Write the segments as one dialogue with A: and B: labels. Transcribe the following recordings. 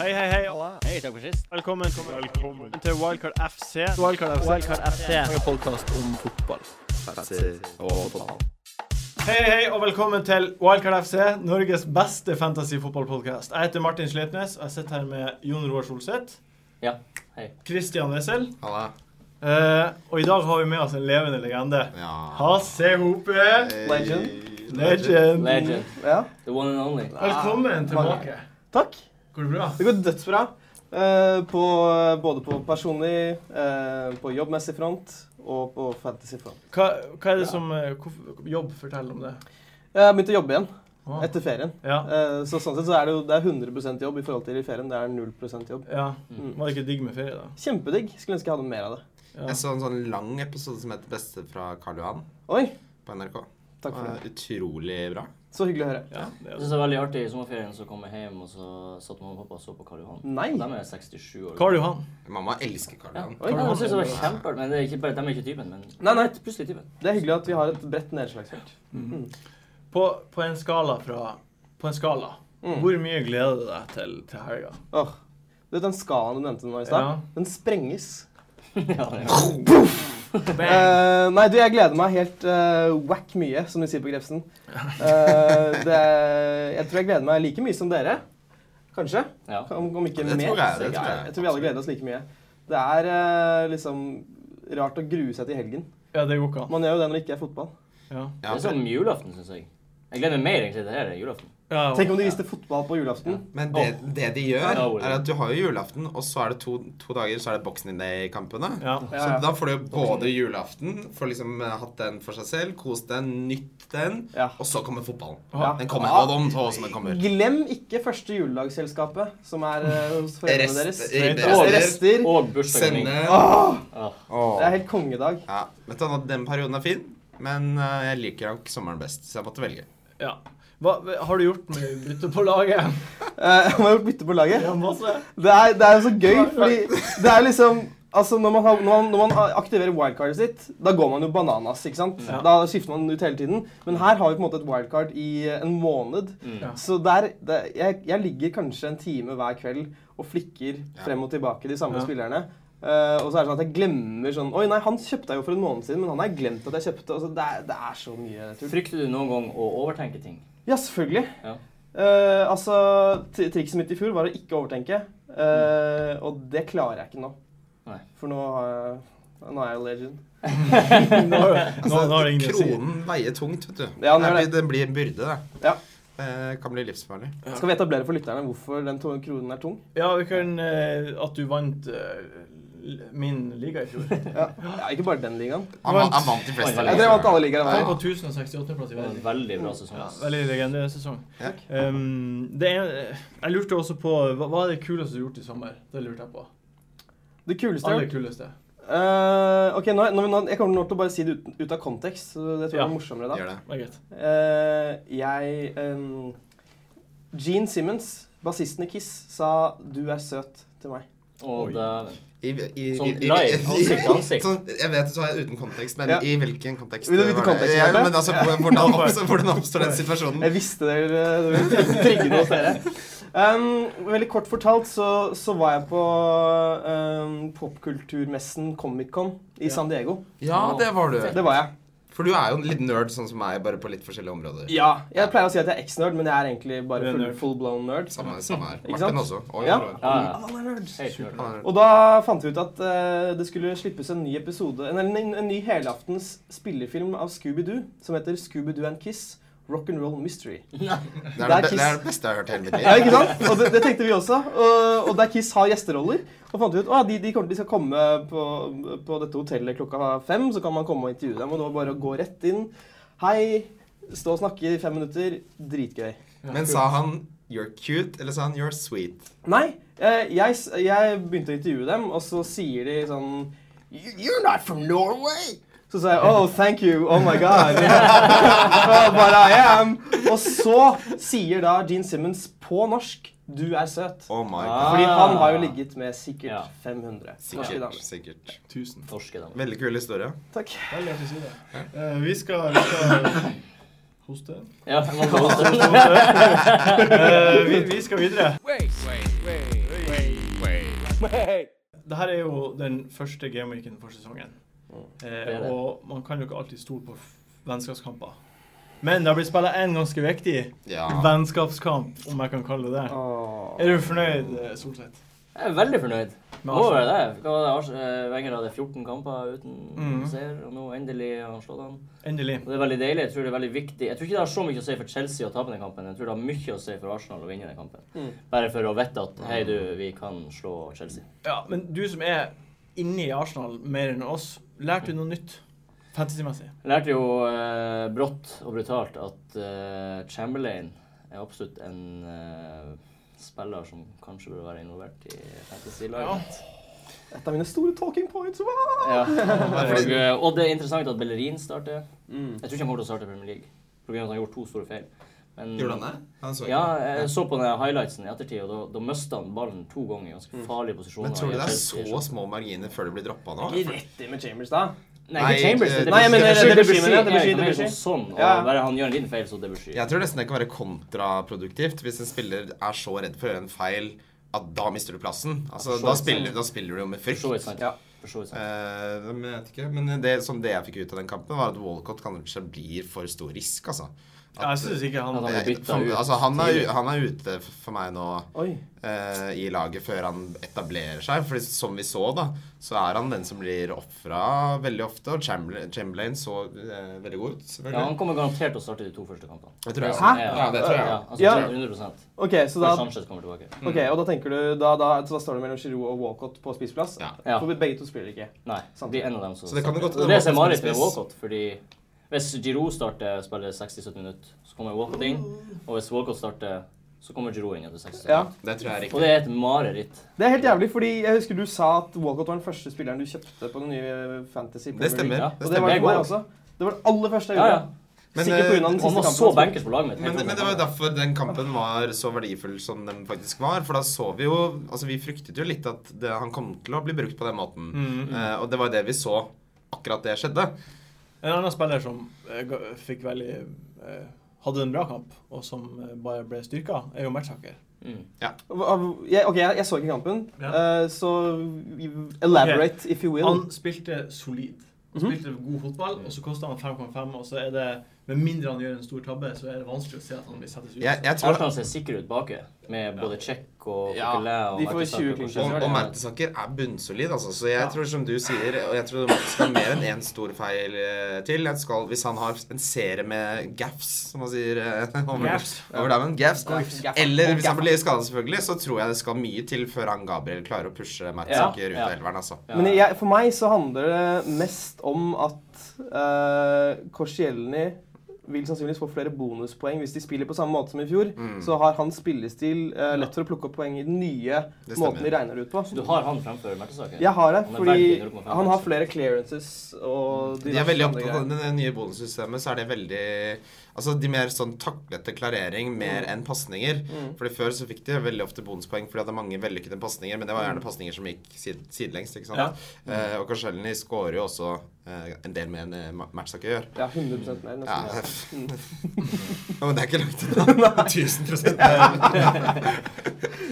A: Hei, hei, hei. Hei, takk for sist. Velkommen, til Wildcard FC. Wildcard FC.
B: En podkast om fotball.
A: Hei, hei, og velkommen til Wildcard FC, Norges beste fantasyfotballpodkast. Jeg heter Martin Sleipnes, og jeg sitter her med Jon Roar Solseth.
C: Ja, hei.
A: Christian Wessel.
D: Halla.
A: Eh, og i dag har vi med oss en levende legende.
D: Ja.
A: Hasse Hope.
B: Legend.
A: Legend.
C: Legend.
B: Ja,
C: The one and only.
A: Velkommen tilbake.
B: takk.
A: Går det bra?
B: Det går dødsbra. Eh, på, både på personlig, eh, på jobbmessig front og på fantasy front.
A: Hva, hva er det som eh, hvorfor- Jobb, fortell om det.
B: Jeg har begynt å jobbe igjen
A: Wow.
B: etter ferien.
A: Ja.
B: Eh, så sånn sett så er det jo det er 100 jobb i forhold til i ferien. Det er 0 jobb.
A: ja.
B: Mm.
A: Var det ikke digg med ferie, da?
B: Kjempedigg. Skulle ønske jeg hadde mer av det.
A: Ja.
D: Jeg så en sånn lang episode som heter 'Beste fra Karl Johan'
B: Oi,
D: på NRK.
B: takk for det.
D: var utrolig bra.
B: Så hyggelig å høre.
A: Ja, det
C: Jeg
A: er
C: synes det var veldig artig i sommerferien så kom jeg hjem, og så satt mamma og pappa og så på Karl Johan.
B: Nei.
C: De er 67 år.
A: Karl Johan.
D: Mamma elsker Karl
C: Ja,
D: Johan.
C: Oi, jeg synes det var kjempeartig, men det er ikke bare, de er ikke typen, men
B: Nei, nei.
C: plutselig typen.
B: Det er hyggelig at vi har et bredt nedslagsfelt.
A: På, på en skala fra På en skala. Hvor mye gleder du deg til, til helga?
B: Mm. Åh, Du vet den skalaen du nevnte nå i stad?
A: Ja.
B: Den sprenges.
C: ja, ja.
B: Eh, nei, du, jeg gleder meg helt eh, whack mye, som de sier på Grefsen. Eh, det, er- jeg tror jeg gleder meg like mye som dere. Kanskje.
C: ja.
B: Om, om ikke
D: Det tror
B: mer.
D: jeg, det tror jeg.
B: jeg tror vi alle gleder oss like mye. Det er eh, liksom rart å grue seg til helgen.
A: Ja, det går ikke an.
B: Man gjør jo det når det ikke er fotball.
A: Ja.
C: Det
D: Ja,
C: er sånn- som julaften, synes jeg. Jeg gleder meg mer egentlig til det her enn julaften.
A: Ja,
B: Tenk om de viste fotball på julaften.
D: men det, det de gjør,
C: Ja, Ole.
D: er at du har jo julaften, og så er det to, to dager så er det Boxing Day-kampene.
A: ja.
D: Så da får du jo både julaften, får liksom eh, hatt den for seg selv, kost den, nytt den,
B: Ja.
D: og så kommer fotballen.
B: Ja.
D: Den kommer, og de tå som den kommer.
B: Glem ikke første juledagsselskapet, som er eh, hos foreldrene
D: Rest-
B: deres.
D: i-
B: Rester. Rester.
C: Og bursdagen min.
D: Sende
C: Åh.
B: Det er helt kongedag.
D: Ja, vet du, hva, Den perioden er fin, men eh, jeg liker nok sommeren best, så jeg måtte velge.
A: ja. Hva har du gjort med bytte på laget?
B: Eh, Om jeg har gjort bytte på laget?
A: Ja, masse.
B: Det er, det er jo så gøy, fordi det er liksom Altså, når man, har, når, man, når man aktiverer wildcardet sitt, da går man jo bananas, ikke sant?
A: Ja.
B: Da skifter man ut hele tiden. Men her har vi på en måte et wildcard i en måned.
C: Mm.
A: Ja.
B: Så der, der jeg, jeg ligger kanskje en time hver kveld og flikker frem og tilbake de samme
A: Ja.
B: spillerne. Eh, og så er det sånn at jeg glemmer sånn Oi, nei, han kjøpte jeg jo for en måned siden, men han har jeg glemt at jeg kjøpte. Altså, det, er, det er så mye tull.
C: Frykter du noen gang å overtenke ting?
B: Ja, selvfølgelig.
C: Ja.
B: Eh, altså, t- Trikset mitt i fjor var å ikke overtenke. Eh, Og det klarer jeg ikke nå.
C: Nei.
B: For nå har jeg nå er jeg jo legend.
A: Nå har du- nå- nå har det ingen å si.
D: Altså, Kronen veier tungt, vet du.
B: Ja, den gjør
D: Nei,
B: det.
D: det blir en byrde, det.
B: Ja.
D: Det kan bli livsfarlig.
B: Skal vi etablere for lytterne hvorfor den to- kronen er tung?
A: Ja, vi kan eh, At du vant eh, min liga i fjor.
B: Ja, ja Ikke bare den ligaen.
D: Han,
A: Vant.
D: vant- han vant de fleste.
C: Oi,
B: Jeg drev vant alle ligaer.
A: Han
B: da.
A: på 1068.-plass i
C: Det var en
A: verden.
C: veldig bra sesong.
A: Ja,
C: ass.
A: veldig legendesesong.
D: Ja.
A: Um, det er- jeg lurte også på hva, hva er det kuleste du har gjort i sommer? Det lurte jeg på.
B: Det kuleste jeg har
A: Aller
B: gjort
A: kuleste.
B: Eh, Ok, nå, nå, nå, Jeg kommer nå til å bare si det ut, ut av kontekst. så Det tror jeg
A: Ja.
B: er morsommere da.
D: Gjør det.
A: Meget.
B: Eh, jeg em, Gene Simmons, bassisten i Kiss, sa 'du er søt' til meg.
C: Og det...
D: I, i, i,
C: Sånn
D: i-
C: live,
D: i-
C: ansikt til ansikt.
D: Sånn, jeg vet du sa jeg uten kontekst, men
B: Ja.
D: i hvilken kontekst? eh,
B: Vil
D: var
B: du vite
D: det?
B: konteksten,
D: Ja,
B: Bjarte?
D: men altså, hvordan, oppstår, hvordan oppstår den situasjonen?
B: Jeg visste det ville det ville trigge noe hos dere. Um, veldig kort fortalt så, så var jeg på um, popkulturmessen Comic-Con i
A: Ja.
B: San Diego.
D: Ja, det var du.
B: Det var jeg.
D: For du er jo en liten nerd, sånn som meg, bare på litt forskjellige områder.
B: Ja, Jeg pleier å si at jeg er eks-nerd, men jeg er egentlig
A: Du
B: bare
A: er
B: full,
A: nerd.
B: full blown nerd.
D: Samme, samme her.
B: Ikke sant?
D: Martin også. Og
B: Ja.
D: Jon Roar.
C: Ja, ja.
B: Alle er nerds.
C: Helt klart.
D: Han er-
B: Og da fant vi ut at eh, det skulle slippes en ny episode, en, en, en ny helaftens spillefilm av Scooby-Doo som heter Scooby-Doo and Kiss Rock'n'Roll Mystery.
D: Det
B: Det er
D: er det be-
B: Kiss.
D: det er det beste jeg har hørt hele mitt
B: Ja,
D: liv.
B: ikke sant? Og det, det tenkte vi også. Og, og der Kiss har gjesteroller. Og fant vi ut at de, de, kommer- de skal komme på, på dette hotellet klokka fem. Så kan man komme og intervjue dem. Og det var bare å gå rett inn. Hei. Stå og snakke i fem minutter. Dritgøy.
D: Men sa han 'you're cute', eller sa han 'you're sweet'?
B: Nei, eh, jeg, s- jeg begynte å intervjue dem, og så sier de sånn "You- You're not from Norway! Så sa jeg oh, thank you, oh my god. But I am. Og så sier da Gene Simmons på norsk 'Du er søt'.
D: Oh my
C: Ah.
D: god.
B: Fordi han har jo ligget med sikkert
C: Ja.
B: 500 norske
D: Sikkert.
B: damer.
D: sikkert.
A: Tusen.
C: Norske damer.
D: Veldig kul historie.
B: Takk.
A: Veldig artig side. Eh, vi skal, vi skal hoste.
C: Ja, man kan også...
A: Eh, vi, vi skal videre.
E: Wait, wait, wait.
A: Dette er jo den første gameweeken for sesongen.
C: Mm. Det er
A: Eh,
C: det.
A: og man kan jo ikke alltid stole på f- vennskapskamper. Men det har blitt spilt en ganske viktig
D: Ja.
A: vennskapskamp, om jeg kan kalle det det.
B: Åh.
A: Er du fornøyd, eh, Solseth?
C: Jeg er veldig fornøyd.
A: Med
C: Må
A: Arsenal?
C: være det. Hva var det? Ars- eh, Wenger hadde 14 kamper uten
A: Mhm.
C: seier, og nå endelig har han slått han.
A: Endelig.
C: Og Det er veldig deilig. Jeg tror det er veldig viktig. Jeg tror ikke det har så mye å si for Chelsea å tape den kampen. Jeg tror det har mye å si for Arsenal å vinne den kampen.
B: Mm.
C: Bare for å vite at hei, du, vi kan slå Chelsea.
A: Ja, men du som er inne i Arsenal mer enn oss, lærte du noe nytt fantasymessig?
C: Jeg lærte jo eh, brått og brutalt at eh, Chamberlain er absolutt en eh, spiller som kanskje burde være involvert i
A: Ja.
C: fantasy-laget.
B: Et av mine store talking points. Wow.
C: Ja. Og, eh, og det er interessant at Bellerin starter.
B: Mm.
C: Jeg tror ikke han kommer til å starte i Premier League pga. at han har gjort to store feil. Men,
D: Gjorde han det? Han så ikke.
C: Ja, jeg så på den highlightsen i ettertid, og da, da mista han ballen to ganger i
B: Mm.
C: ganske farlige posisjoner.
D: Men tror du
C: i
D: det er
C: Chelsea.
D: så små marginer før det blir droppa nå?
B: Ikke rett inn med Chambers, da.
C: Nei,
D: Nei,
C: ikke Chambers.
D: eh,
C: Det er
D: Nei, men
C: Debussy.
D: det er
C: Unnskyld,
B: Debussy,
C: Debussy.
B: men det er
C: Jeg
B: Debussy,
C: mener
B: Debussy.
C: sånn- Sånn, og
B: Ja.
C: bare han gjør en liten feil, så Debussy.
D: Jeg tror nesten det kan være kontraproduktivt hvis en spiller er så redd for å gjøre en feil at da mister du plassen. Altså,
C: Ja, for så
D: da,
C: vidt
D: spiller,
C: sant.
D: da spiller du jo med
C: For så vidt
D: frykt.
C: sant.
B: Ja.
C: For så vidt sant.
D: Eh, men jeg vet ikke. Men det, som det jeg fikk ut av den kampen, var at Walcott kanskje blir for stor risk, altså.
A: Ja, jeg syns ikke han
C: At han-
D: Eh,
C: er byttet
D: for,
C: ut
D: altså han, er,
C: tidlig.
D: han er ute for meg nå
B: Oi.
D: eh, i laget før han etablerer seg. For som vi så, da, så er han den som blir ofra veldig ofte. Og Chamberlain, Chamberlain så eh, veldig god ut,
C: Ja, han
D: selvfølgelig.
C: kommer garantert til å starte de to første kampene.
D: Det tror jeg.
B: Hæ?
D: Ja, det tror jeg.
C: Ja, altså,
B: Ja.
C: 100
B: OK, så da,
C: Før Sanchez kommer tilbake.
B: ok, og da tenker du da, da, så da står det mellom Giroud og Walcott på spiseplass?
D: Ja.
C: Ja.
B: For begge to spiller ikke.
C: Nei,
B: Sant.
C: det er en av dem som
D: Så det kan jo godt-
C: Og det ser Marit med
D: Walcott spiller spiss.
C: Walcott, fordi hvis Giroud starter og spiller 60-70 minutter, så kommer Walcott inn. Og hvis Walcott starter, så kommer Giroud inn etter 60
B: Ja.
C: minutter.
D: Det tror jeg er
C: Og
D: riktig.
C: det er et mareritt.
B: Det er helt jævlig, fordi jeg husker du sa at Walcott var den første spilleren du kjøpte på den nye eh, Fantasy. Premier
D: Det stemmer.
C: Ja.
B: League.
D: Det
B: Og det var
D: stemmer.
B: det
C: Jeg
B: for meg
C: går.
B: også. Det var det aller første jeg
C: Ja,
B: gjorde.
C: ja.
D: Men,
B: Sikkert på grunn av
D: eh,
B: den
C: Og han
B: siste
C: var
B: kampen.
C: så bankers på laget mitt.
D: Men,
C: helt
D: men
C: fra
D: det var jo
C: starten.
D: derfor den kampen var så verdifull som den faktisk var. For da så vi jo Altså, vi fryktet jo litt at det, han kom til å bli brukt på den måten.
A: Mm.
D: Eh, og det var jo det vi så akkurat det skjedde.
A: En annen spiller som eh, ga- fikk veldig eh, hadde en bra kamp, og som eh, bare ble styrka, er jo matchhacker.
C: Mm.
B: Hva- hva- Jeg, ok, jeg, jeg så ikke kampen,
A: Ja.
B: eh, så elaborate if you will.
A: Han spilte solid. Han
B: Mhm.
A: spilte god fotball, og så kosta han 5,5, og så er det Med mindre han gjør en stor tabbe, så er det vanskelig å se at han blir satt ut.
D: Jeg, jeg tror
C: Arsenal ser sikre ut baki, med både Czech og
D: Ja,
C: Coquelin og
B: de får
C: Mertesacker
B: 20
C: og
B: clinches.
D: Og,
C: Chelsea.
D: og Mertesaker er bunnsolid, altså. Så jeg
A: Ja.
D: tror, som du sier, og jeg tror det skal mer enn én stor feil eh, til. Jeg skal, hvis han har en serie med gaffs, som man sier eh, over,
A: Gaffs.
D: over damen, gaffs,
B: Gaffs.
D: eller
B: Og
D: hvis han blir skadet, selvfølgelig, så tror jeg det skal mye til før han Gabriel klarer å pushe Mertesaker ut
C: Ja,
D: av
C: ja.
D: elveren, altså.
C: Ja.
B: Men jeg, for meg så handler det mest om at uh, Korsielny vil sannsynligvis få flere bonuspoeng hvis de spiller på samme måte som i fjor.
D: Mm.
B: Så har hans spillestil eh, lett for å plukke opp poeng i den nye
D: Det stemmer.
B: måten de regner ut på.
C: Du har han fremfor Mertesaker?
B: Jeg har det,
C: Han er
B: fordi
C: veldig 0,5.
B: han har flere clearances og
D: De er veldig
B: andre
D: opptatt av
B: greiene.
D: det det nye bonussystemet, så er det veldig Altså de mer sånn taklete klarering
B: Mm.
D: mer enn pasninger. Fordi før så fikk de veldig ofte bonuspoeng fordi de hadde mange vellykkede pasninger, men det var gjerne pasninger som gikk sid sidelengs, ikke sant. Eh, og Korselny skårer jo også eh, en del mer enn eh, Ma- Mertzaker gjør.
B: Ja, 100 mer.
D: Ja.
B: nesten. Mm.
D: Ja, men det er ikke langt unna. 1000 Eh,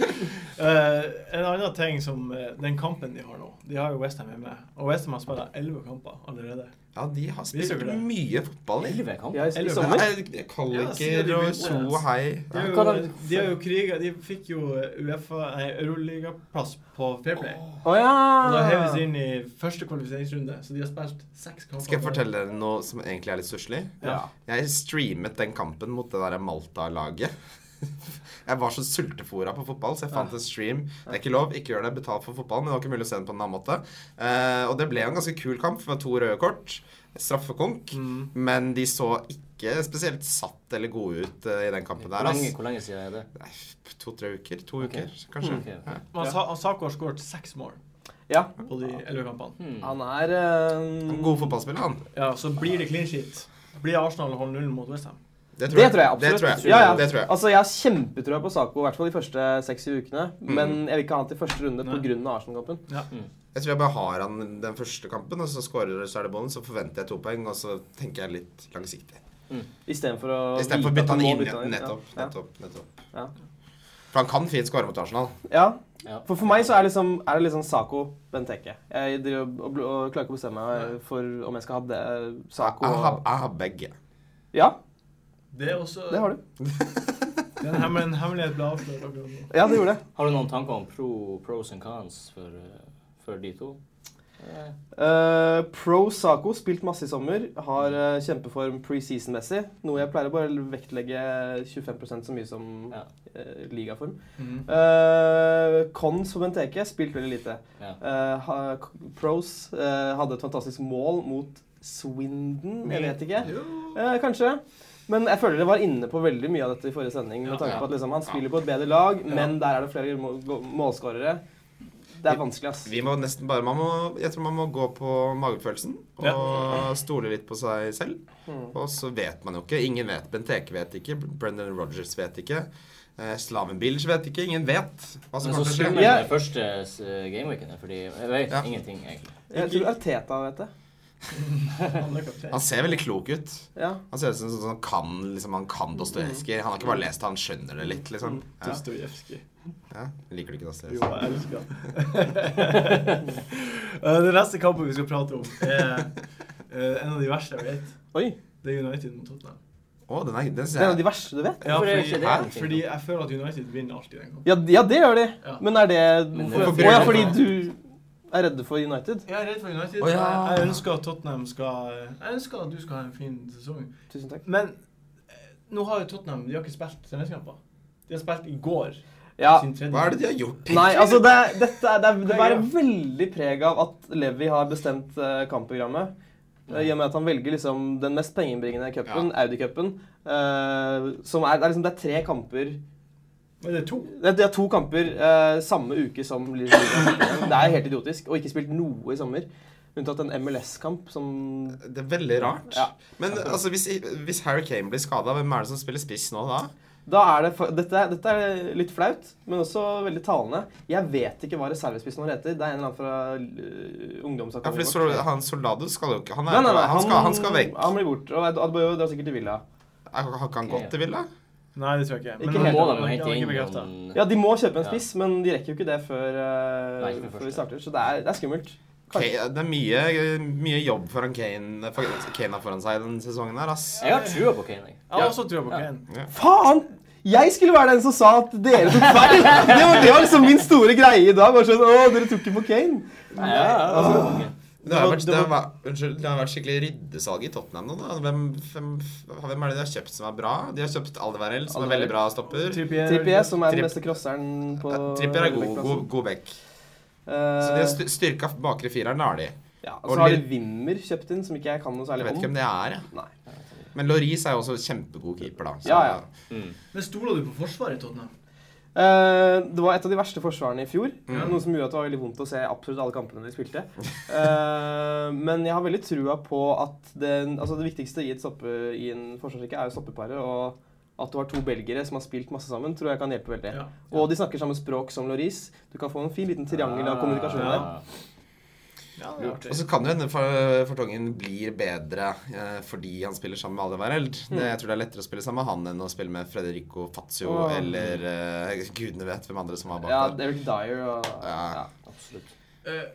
A: Eh, en annen ting som eh, Den kampen de har nå De har jo Westham hjemme. Og Westham har spilt elleve kamper allerede.
D: Ja, de har
A: Viser
D: spilt
A: ikke det.
D: mye fotball. Eh, de.
C: Elleve kamp?
B: Ja, i, i
A: Eller-
B: sommer.
A: Ja,
D: Nei,
A: sier
D: Kalliker
A: de
D: og
A: begynte.
D: so og hei.
A: De har
B: Hva
A: jo,
B: da?
A: de har jo kriga De fikk jo eh, UEFA nei, Euroliga-plass på Fairplay.
B: Å ja!
A: Og da heves de inn i første kvalifiseringsrunde, så de har spilt seks kamper.
D: Skal jeg fortelle dere noe som egentlig er litt stusslig?
B: Ja.
D: Jeg streamet den kampen mot det der Malta-laget. Jeg var så sultefora på fotball, så jeg fant en stream. Det er ikke lov, ikke gjør det. Betal for fotball, men det var ikke mulig å se den på en annen måte. Eh, og det ble jo en ganske kul kamp med to røde kort, straffekonk,
A: Mm.
D: men de så ikke spesielt satt eller gode ut eh, i den kampen
C: Hvor
D: der.
C: lenge,
D: ass.
C: hvor lenge siden er det?
D: Nei, To-tre uker. To uker, kanskje.
C: Ok, ok.
D: Ja.
A: Men Sa- han Sako har skåret seks mål
B: ja.
A: på de elleve kampene.
C: Hmm. Mm.
B: Han er eh,
D: God fotballspiller, han.
A: Ja, så blir det clean sheet. Blir Arsenal å holde nullen mot Westham?
B: Det tror jeg absolutt.
D: Det tror jeg.
B: Ja, ja.
D: Det tror jeg.
B: Altså, jeg har kjempetrua på Sako, i hvert fall de første seks ukene.
D: Mm.
B: Men jeg vil ikke ha han til første runde
A: Nei.
B: pga. Arsenal-kampen.
D: Jeg tror jeg bare har han den første kampen, og så skårer så er det bånd, så forventer jeg to poeng, og så tenker jeg litt langsiktig.
B: Istedenfor å
D: Istedenfor å
B: vite at
D: bytte han
B: må
D: inn.
B: bytte
D: ja.
B: han
D: Nettopp.
B: Ja.
D: nettopp, nettopp.
B: Ja.
D: For han kan fint skåre mot Arsenal.
B: Ja.
C: Ja.
B: For, for meg så er, liksom, er det liksom Saco Benteke. Jeg driver og, og, og klarer ikke å bestemme meg for om jeg skal ha det,
D: Ah,
B: Saco
D: Jeg har,
B: og
D: jeg har begge.
B: Ja,
A: Det er også
B: det har du.
A: Det er en hemmel- en hemmelighet ble avslørt akkurat nå.
B: Ja, det gjorde jeg.
C: Har du noen tanker om pro, pros and cons for, eh, for de to? Eh,
B: Eh, Pro Saco, spilt masse i sommer, har eh, kjempeform preseason-messig. Noe jeg pleier å bare vektlegge 25 så mye som
C: Ja.
B: eh, ligaform.
A: Mhm.
B: Eh, Cons for Benteke, spilt veldig lite.
C: ja.
B: Eh, ha, Pros eh, hadde et fantastisk mål mot Swindon, jeg vet ikke. Eh, kanskje. Men jeg føler det var inne på veldig mye av dette i forrige sending. Med
A: Ja.
B: tanke på at liksom, Han
D: Ja.
B: spiller på et bedre lag,
A: Ja.
B: men der er det flere må- gå- målskårere. Det er vanskelig, ass.
D: Vi må nesten bare man må, Jeg tror man må gå på magefølelsen og stole litt på seg selv.
B: Mm.
D: Og så vet man jo ikke. Ingen vet. Benteke vet ikke. Brendan Rogers vet ikke. Eh, Slaven Bilic vet ikke. Ingen vet hva som
C: Men så
D: kommer til å
C: summer
D: skje.
B: Ja.
C: den første eh, gameweeken, fordi jeg vet
D: Ja.
C: ingenting, egentlig.
B: Jeg tror Arteta vet det.
A: Han er kaptein.
D: Han ser veldig klok ut.
B: Ja.
D: Han ser ut som en sånn som kan, liksom, han kan Dostojevskij. Han har ikke bare lest det, han skjønner det litt, liksom. Ja.
A: Dostojevskij.
D: Ja. Liker du
A: Mm.
D: ikke
A: Jo,
D: Dostojevskij?
A: jeg elsker han. Eh, Den neste kampen vi skal prate om, er eh, en av de verste jeg vet.
B: Oi!
A: Det er United mot Tottenham.
D: Å, den er, den
B: Det er en
D: ser
B: av
D: jeg.
B: de verste du vet.
A: Ja,
C: Hvorfor er
A: fordi,
C: ikke det
A: Hæ?
C: en ting?
A: fordi jeg føler at United vinner alltid den kampen.
B: Ja, d- ja det gjør de.
A: Ja.
B: Men er det
C: Men
B: Å
C: hvorfor
D: bryr
B: ja,
D: du deg?
B: fordi du er redde for United?
A: Jeg er redd for United.
D: Å, ja.
A: Jeg- Jeg ønsker at Tottenham skal Jeg ønsker at du skal ha en fin sesong.
B: Tusen takk.
A: Men eh, nå har jo Tottenham De har ikke spilt treningskamper. De har spilt i går.
B: Ja.
A: sin tredje
D: Hva er det de har gjort?
B: Nei, altså det, er- dette er, det, er,
A: Nei,
B: det bærer
A: ja.
B: veldig preg av at Levi har bestemt eh, kampprogrammet. Eh, I og med at han velger liksom den mest pengeinnbringende cupen, Audi-cupen. eh, som er, det, er liksom, det er tre kamper
A: Men det er to.
B: Det er, det er to kamper eh, samme uke som Liverpool. Det er helt idiotisk. Og ikke spilt noe i sommer. Unntatt en MLS-kamp som
D: Det er veldig rart.
B: Ja.
D: Men altså, hvis, hvis Harry Kane blir skada, hvem er det som spiller spiss nå da?
B: Da er det fa- dette, er- dette er litt flaut, men også veldig talende. Jeg vet ikke hva reservespissen vår heter. Det er en eller annen fra uh,
D: Ja, fordi
B: ungdomsakademiet.
D: Sol-
B: vårt.
D: han Soldado skal jo ikke Han, er,
B: Nei, nei, nei,
D: han, skal, han skal vekk.
B: Han blir borte. Og Ad- Adbayo drar sikkert til Villa.
D: Har har ikke han gått til Villa?
A: Nei, det tror jeg ikke.
B: Ikke
A: han-
B: helt.
C: Må
A: han-
C: de jo
A: han
C: hente
A: er
C: inn
A: ikke bekreftet.
C: noen
B: Ja, De må kjøpe en
C: Ja.
B: spiss, men de rekker jo ikke det før, eh,
C: Nei, ikke med
B: før vi
C: første.
B: starter. Så det er, det er skummelt. Kanskje.
D: Kane, det er mye, mye jobb foran Kane, for Kane har foran seg denne sesongen her, ass.
C: Jeg har trua på Kane. jeg.
A: Jeg har også trua på Kane.
B: Faen! Jeg skulle være den som sa at dere tok feil! Det var, det var liksom min store greie i dag. Bare sånn, å, dere tok ikke på Kane.
C: Nei, jeg har
B: Altså,
C: trua på Kane.
D: Det har, vært, det, har, vært- unnskyld, det har vært skikkelig ryddesalg i Tottenham nå. Da. Hvem, hvem, hvem er det de har kjøpt som er bra? De har kjøpt Aldevarell, som er
B: Alderweireld.
D: veldig bra stopper.
A: Trippier-
B: Trippier, som er den
D: Tripp-
B: beste crosseren på
D: Eh, Trippier er god,
B: høyrebackplassen.
D: god, god back. Så de
B: Eh,
D: har styr- styrka bakre fireren, har de.
B: ja, og
D: og
B: så har de
D: Lill-
B: Wimmer kjøpt inn, som ikke jeg kan noe
D: Jeg
B: særlig
D: vet ikke
B: om.
D: hvem det er. jeg.
B: Nei.
D: Men Laurice er jo også kjempegod keeper, da. Så
B: Ja, ja.
C: Mm.
A: Men stoler du på forsvaret i Tottenham?
B: Eh, det var et av de verste forsvarene i fjor.
D: Mm.
B: Noe som gjorde at det var veldig vondt å se absolutt alle kampene de spilte. Eh, men jeg har veldig trua på at den, altså det viktigste i, et stoppe, i en forsvarsrekke er jo stoppeparet. Og at du har to belgere som har spilt masse sammen, tror jeg kan hjelpe veldig.
A: Ja.
B: Og de snakker samme språk som Loris. Du kan få en fin liten triangel av kommunikasjon der.
C: Ah.
A: Ja, det er artig.
D: Og så kan det hende for- Fortongen blir bedre eh, fordi han spiller sammen med Aldevareld.
B: Mm.
D: Det- Jeg tror det er lettere å spille sammen med han enn å spille med Frederico Fazio
B: Åh.
D: eller eh, gudene vet hvem andre som var bak
B: Ja,
D: der.
B: Eric Dyer og
D: Ja.
B: ja.
C: Absolutt.
A: Eh,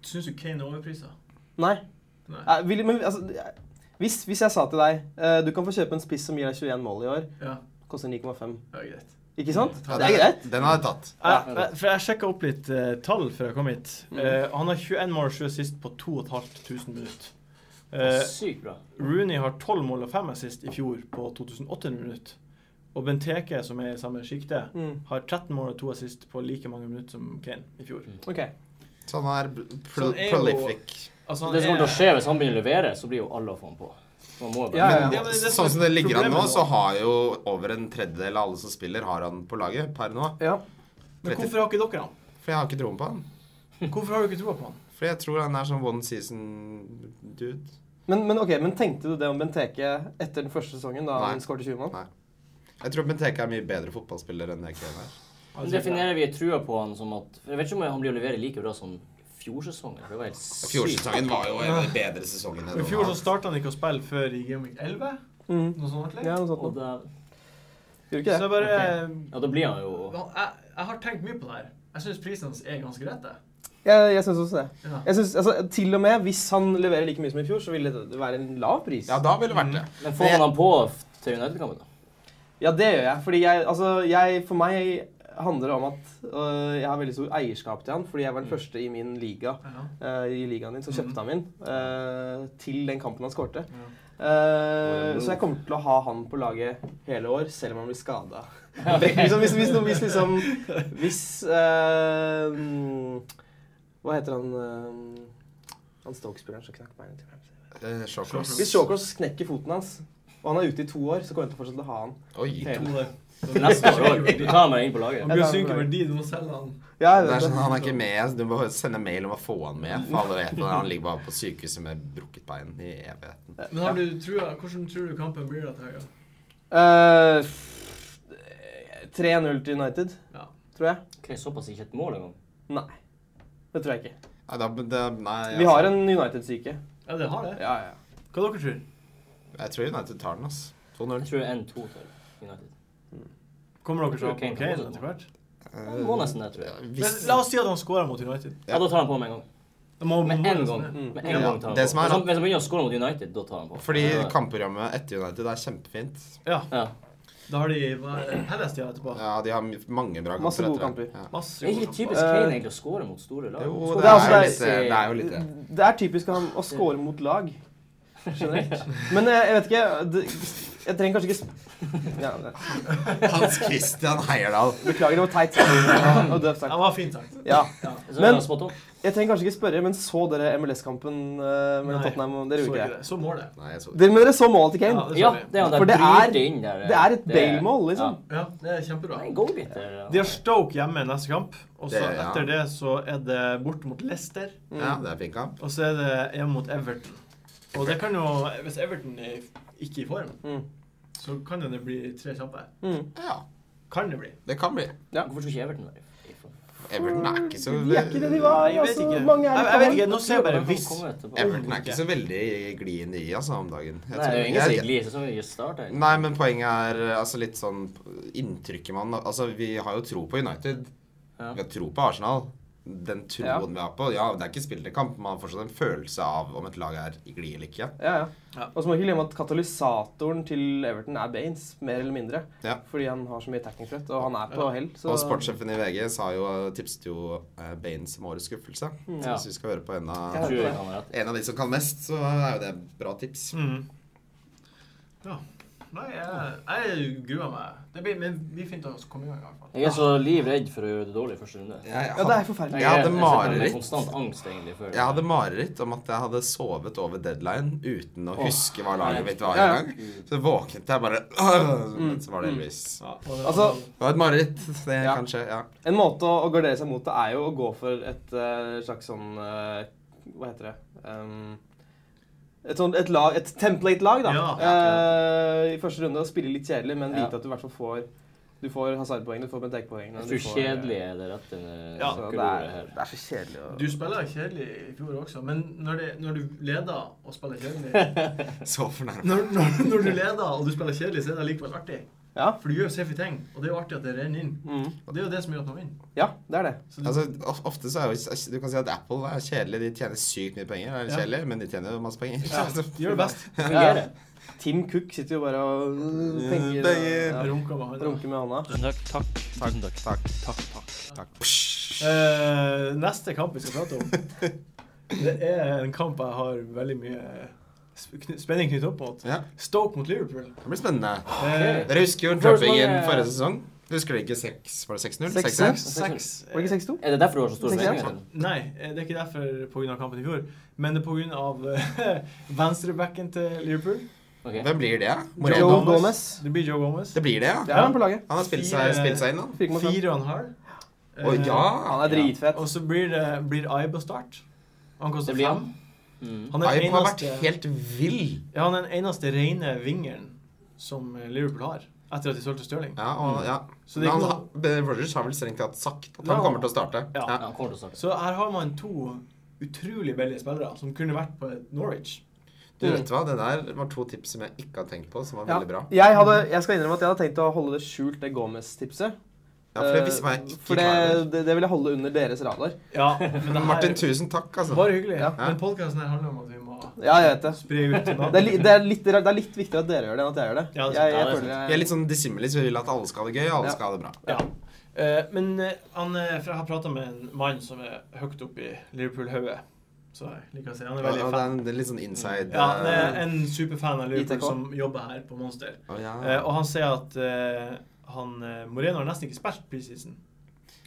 A: Syns du Kane er overprisa?
B: Nei.
A: Nei.
B: eh, vil, men altså jeg- hvis, hvis jeg sa til deg eh, Du kan få kjøpe en spiss som gir deg 21 mål i år.
A: Ja,
B: Koster 9,5.
A: det er greit.
B: Ikke sant?
A: Ja,
B: Det er greit.
D: Den har jeg tatt.
A: Jeg, jeg- for jeg sjekka opp litt eh, tall før jeg kom hit. Eh, han har 21 mål og 7 assist på 2500 minutter. Eh,
C: Sykt bra.
A: Rooney har 12 mål og 5 assist i fjor på 2800 minutter. Og Benteke, som er i samme sjikte,
B: Mm.
A: har 13 mål og 2 assist på like mange minutter som Kane i fjor.
B: Ok.
D: Så han er
A: Så
D: pro
A: han er jo-
D: prolific.
A: Altså,
C: Det som kommer til å skje hvis han begynner å levere, så blir jo alle å få han på. Man må jo
B: Ja,
C: bare...
B: ja,
D: Men
A: ja.
D: sånn som det ligger an nå,
A: Problemet nå-
D: så har jo over en tredjedel av alle som spiller, har han på laget per nå.
B: Ja.
A: Men hvorfor har ikke dere han?
D: For jeg har ikke troen på han.
A: Hvorfor har du ikke troa på han?
D: For jeg tror han er sånn one season-dude.
B: Men, men, ok, men tenkte du det om Benteke etter den første sesongen, da
D: Nei.
B: han skåret 20 mål?
D: Nei. Jeg tror Benteke er mye bedre fotballspiller enn det Kane er.
C: Men Definerer vi trua på han som at Jeg vet ikke om han blir å levere like bra som fjorsesongen. for Det var helt sykt.
D: Fjorsesongen var jo en av de bedre sesongene.
A: I fjor så starta han ikke å spille før i Game Week 11.
B: Mm.
A: Noe sånt ordentlig.
B: Ja, noe sånt
C: Og
B: noe.
C: da,
B: Gjorde
A: Så
B: ikke det?
A: jeg bare
C: Ja, da blir han jo
A: Hva- jeg, jeg har tenkt mye på det her. Jeg syns prisen hans er ganske rett. jeg.
B: Jeg, jeg syns også det.
A: Ja.
B: Jeg synes, altså, til og med hvis han leverer like mye som i fjor, så ville det være en lav pris.
D: Ja, da ville det vært det.
C: Men får man han på f- til United-kampen, da?
B: Ja, det gjør jeg. Fordi jeg, altså, jeg For meg handler det om at øh, jeg har veldig stor eierskap til han, fordi jeg var den første i min liga
A: Ja.
B: øh, i ligaen din som kjøpte han inn øh, til den kampen han skårte.
A: Ja.
B: Eh, så jeg kommer til å ha han på laget hele år, selv om han blir skada. liksom, hvis, hvis, hvis liksom Hvis eh, mm, Hva heter han eh, Han Stoke-spilleren som knakk beinet til Ramsey?
D: Eh, Shawcross.
B: Hvis Shawcross knekker foten hans, og han er ute i to år, så kommer jeg til å fortsette å ha han.
D: Oi.
B: Helt.
A: To der.
C: Til neste år òg. Du tar han bare inn på
A: Han
C: laget.
A: blir synke verdi, du må selge han.
B: Ja, jeg
D: Det er
B: vet
D: sånn,
B: det.
D: han er ikke med. Du må sende mail om å få han med. For alle vet det. Han ligger bare på sykehuset med brukket bein i evigheten.
A: Men har du trua, hvordan tror du kampen blir da til helga?
B: Eh, f- 3-0 til United,
A: Ja.
B: tror jeg.
C: Ok, Såpass ikke et mål engang.
B: Nei. Det tror jeg ikke.
D: Nei, da, det, nei
B: Vi har
D: altså,
B: en United-syke.
A: ja, det har det.
B: Ja, ja.
A: Hva dere tror
D: Jeg tror United tar den, ass. 2-0.
C: Jeg tror det er 1-2 til United.
A: Kommer dere til å
C: Jeg tror
A: ha
C: Kane
A: Kane
C: kan også
A: etter hvert?
C: Han må nesten det, tror jeg.
A: Men
D: Hvis,
A: la oss si at han scorer mot United.
C: Ja, da tar han på med en gang.
A: Da må- må
C: Med
A: nesten
C: en gang.
A: det.
B: Mm.
C: Med
D: Ja.
C: en gang tar han på.
D: Det som er
C: Hvis han-
D: at-
C: Hvis han begynner å score mot United, da tar han på.
D: fordi
C: Ja.
D: kampprogrammet etter United er kjempefint.
A: Ja,
C: Ja.
A: da har de hva- Hellestia etterpå.
D: Ja, de har mange bra kamper.
B: Masse gode
D: etter det.
B: kamper.
D: Ja.
A: Masse
C: Det er ikke
A: gode
C: typisk
B: Eh,
C: Kane egentlig å score mot store lag.
D: Jo,
B: Det
D: det
B: er
D: er
B: altså-
D: jo litt det. Det er jo litt det.
B: Det er typisk han å score mot lag. Generelt. Men eh, jeg vet ikke det, Jeg trenger kanskje ikke sp- ja, det-
D: Hans Christian Heierdal.
B: Beklager, det var teit sagt. og døvt
A: kamper. Ja,
B: sagt.
A: var fint sagt.
B: Ja.
C: Så
B: Men-
C: men, spot on.
B: Jeg trenger kanskje ikke spørre, men så dere MLS-kampen eh, mellom
A: Nei,
B: Tottenham og Dere
A: så
B: gjorde ikke det.
A: det. Så mål det.
D: Nei, jeg så det.
B: Dere, men dere så målet til Kane.
A: Ja,
C: Ja, det er han der
B: For det
C: bryter
B: er-
C: inn der. eh,
B: det er et Bale-mål, liksom.
A: Ja, det er
C: Ja.
A: kjempebra.
C: Det er en goalgetter.
A: De har Stoke hjemme neste kamp, og så
D: Det- ja.
A: etter det så er det bort mot Leicester,
D: Ja, det er fin kamp.
A: og så er det hjemme mot Everton. Og det kan jo, hvis Everton er ikke i form,
B: Mm.
A: så kan det bli tre kjappe.
B: Mm.
D: Ja,
A: Kan det bli.
D: det kan bli.
B: Ja.
C: Hvorfor skulle ikke Everton være i form?
D: Everton er ikke så
B: Mm. De er ikke det de var.
A: Jeg vet
B: altså,
A: ikke.
B: mange er
A: Jeg- jeg
B: ikke
A: vet ikke. Nå ser jeg bare
C: Hvordan
A: hvis.
C: kommer det tilbake?
D: Everton er ikke så veldig gliende i altså, om dagen.
C: Nei,
D: Jeg
C: det er
D: tror-
C: jo ingen som
D: jeg-
C: er glid, så vi ikke starter. egentlig.
D: Nei, men poenget er altså, litt sånn inntrykket man Altså, vi har jo tro på United.
C: Ja.
D: Vi har tro på Arsenal. Den troen
B: Ja.
D: vi har på Ja, det er ikke spillerkamp, men man har fortsatt en følelse av om et lag er i glid eller ikke.
B: Ja, ja.
A: Ja.
B: Og så må vi ikke glemme at katalysatoren til Everton er Baines, mer eller mindre.
D: Ja.
B: Fordi han har så mye teknikkfrøtt, og han er på hell. Så
D: Og sportssjefen i VG sa jo, tipset jo eh, Bane som årets skuffelse. Så
C: Ja.
D: hvis vi skal høre på en
C: Jeg
D: av,
C: tror han har rett.
D: en av de som kan mest, så er jo det bra tips.
A: Mhm. Ja. Nei, jeg, jeg gruer meg. Det blir, men vi finner oss å komme i gang i hvert fall.
C: Jeg er så livredd for å gjøre det dårlig i første runde.
D: Jeg, jeg,
B: Ja, det er
D: hadde,
B: forferdelig.
D: Jeg hadde
C: sitter med
D: mareritt.
C: Konstant angst, egentlig. Før.
D: jeg hadde mareritt om at jeg hadde sovet over deadline uten å
C: Åh,
D: huske hva laget
C: nei.
D: mitt var
B: Ja, ja.
D: engang. Så våknet jeg bare øh, Men så var det Elvis.
A: Ja, og det-
B: Altså,
D: Det var et mareritt. Det
B: Ja.
D: kan skje. Ja.
B: En måte å å gardere seg mot det er jo å gå for et eh, slags sånn eh, Hva heter det Ehm, Et sånn et lag, et template-lag, da.
A: Ja.
B: Eh, I første runde. Og spille litt kjedelig, men
C: Ja.
B: vite at du i hvert fall får Du får Hazard-poengene, du får Benteke-poengene.
C: Jeg
B: du
C: tror
B: får- eh,
C: kjedelig er det rette eh,
A: Ja.
B: Så
C: nøkkelordet
B: det, er,
C: her.
B: det er så kjedelig å
A: du spiller kjedelig i fjor også, men når, det, når du leder og spiller kjedelig
D: Så fornærmet.
A: når, når, når du leder og du spiller kjedelig, så er det likevel artig.
B: Ja.
A: For du gjør jo safe ting, og det er jo artig at det renner inn.
B: Mm.
A: Og det er jo det som gjør at man vinner.
B: Ja, det er det.
A: Så
D: Altså, of- ofte så er jo Du kan si at Apple er kjedelig. De tjener sykt mye penger. Det er
A: Ja.
D: kjedelig, men de tjener jo masse penger.
A: Ja, de gjør det Mm, best.
C: Fungerer.
B: Tim Cook sitter jo bare og øh, penger,
D: Penger.
B: og-
A: Runka med
B: Ja, runker med hånda.
D: Takk, takk, takk.
A: Eh, neste kamp vi skal prate om, det er en kamp jeg har veldig mye sp- kny- spenning knyttet opp mot.
D: Ja,
A: Stoke mot Liverpool.
D: det blir spennende.
A: Eh,
D: Dere husker jo
C: Hvor
D: trappingen
C: mange-
D: forrige sesong? Husker dere ikke 6? Var det 6-0?
B: 6-0?
D: 6-6?
A: seks eh,
B: Var det ikke 6-2?
C: Er det derfor du har så stor
B: Tenker jeg.
C: mening til den?
A: Nei, eh, det er ikke derfor pga. kampen i fjor, men det er pga. eh, venstrebacken til Liverpool.
C: Ok.
D: Hvem blir det?
B: Joe
A: Gomez.
D: Moreno?
B: Gomez.
A: Det blir Joe Gomez.
D: Det blir det, ja?
B: Det er han på laget.
D: Han har spilt seg, spilt seg inn, han.
B: Fire mot fem.
A: Fire og en halv. Eh,
D: Å ja!
B: Han er dritfett.
A: Og så blir det blir Ibe å starte. Han koster
C: Det blir
A: fem.
C: han. Mm.
A: Han er,
D: Ibe
A: den
D: har vært
A: eneste,
D: helt vill.
A: ja, han er den eneste rene vingeren som eh, Liverpool har, etter at de solgte Stirling.
D: Ja, og, ja.
A: Mm. Så
D: Men
A: det er
D: han,
A: ikke
D: ha-
A: noe-
D: Ben Rogers har vel strengt tatt sagt at han
A: Ja.
D: kommer til å starte.
A: Ja.
C: Ja, han kommer til å starte.
A: Så her har man to utrolig billige spillere som kunne vært på et Norwich.
D: Du vet hva, det der var to tips som jeg ikke hadde tenkt på, som var
B: Ja.
D: veldig bra.
B: Jeg, hadde, jeg skal innrømme at jeg hadde tenkt å holde det skjult, det Gomez-tipset.
D: Ja, for det visste meg
B: Eh,
D: ikke
B: For
D: klar
B: det,
D: over.
B: det, det vil jeg holde under deres radar.
A: Ja, men det
D: Men Martin, tusen takk, altså.
A: Bare hyggelig.
B: Ja.
A: Men podkasten her handler om at vi må
B: Ja, jeg vet det.
A: spre ut til
B: Det er, li, det, er litt, det er litt viktigere at dere gjør det, enn at jeg gjør det.
A: Ja, det er sant.
B: jeg,
C: Ja,
B: jeg
C: det er
B: føler
D: Vi er
B: jeg,
D: litt sånn dissimilis. Vi vil at alle skal ha det gøy, og alle
B: Ja.
D: skal ha det bra.
A: Ja. Eh, men eh, han, eh, for jeg har prata med en mann som er høyt oppe i Liverpool-hodet. Så jeg liker å si han er
D: Og,
A: veldig
D: og det, er
A: fan.
D: en, det er litt sånn inside
A: Ja, han er
D: eh,
A: en superfan av Liverpool
B: ITK.
A: som jobber her på Monster.
D: å, ja.
A: Eh, og han sier at eh, han, eh, Moreno har nesten ikke spilt preseason.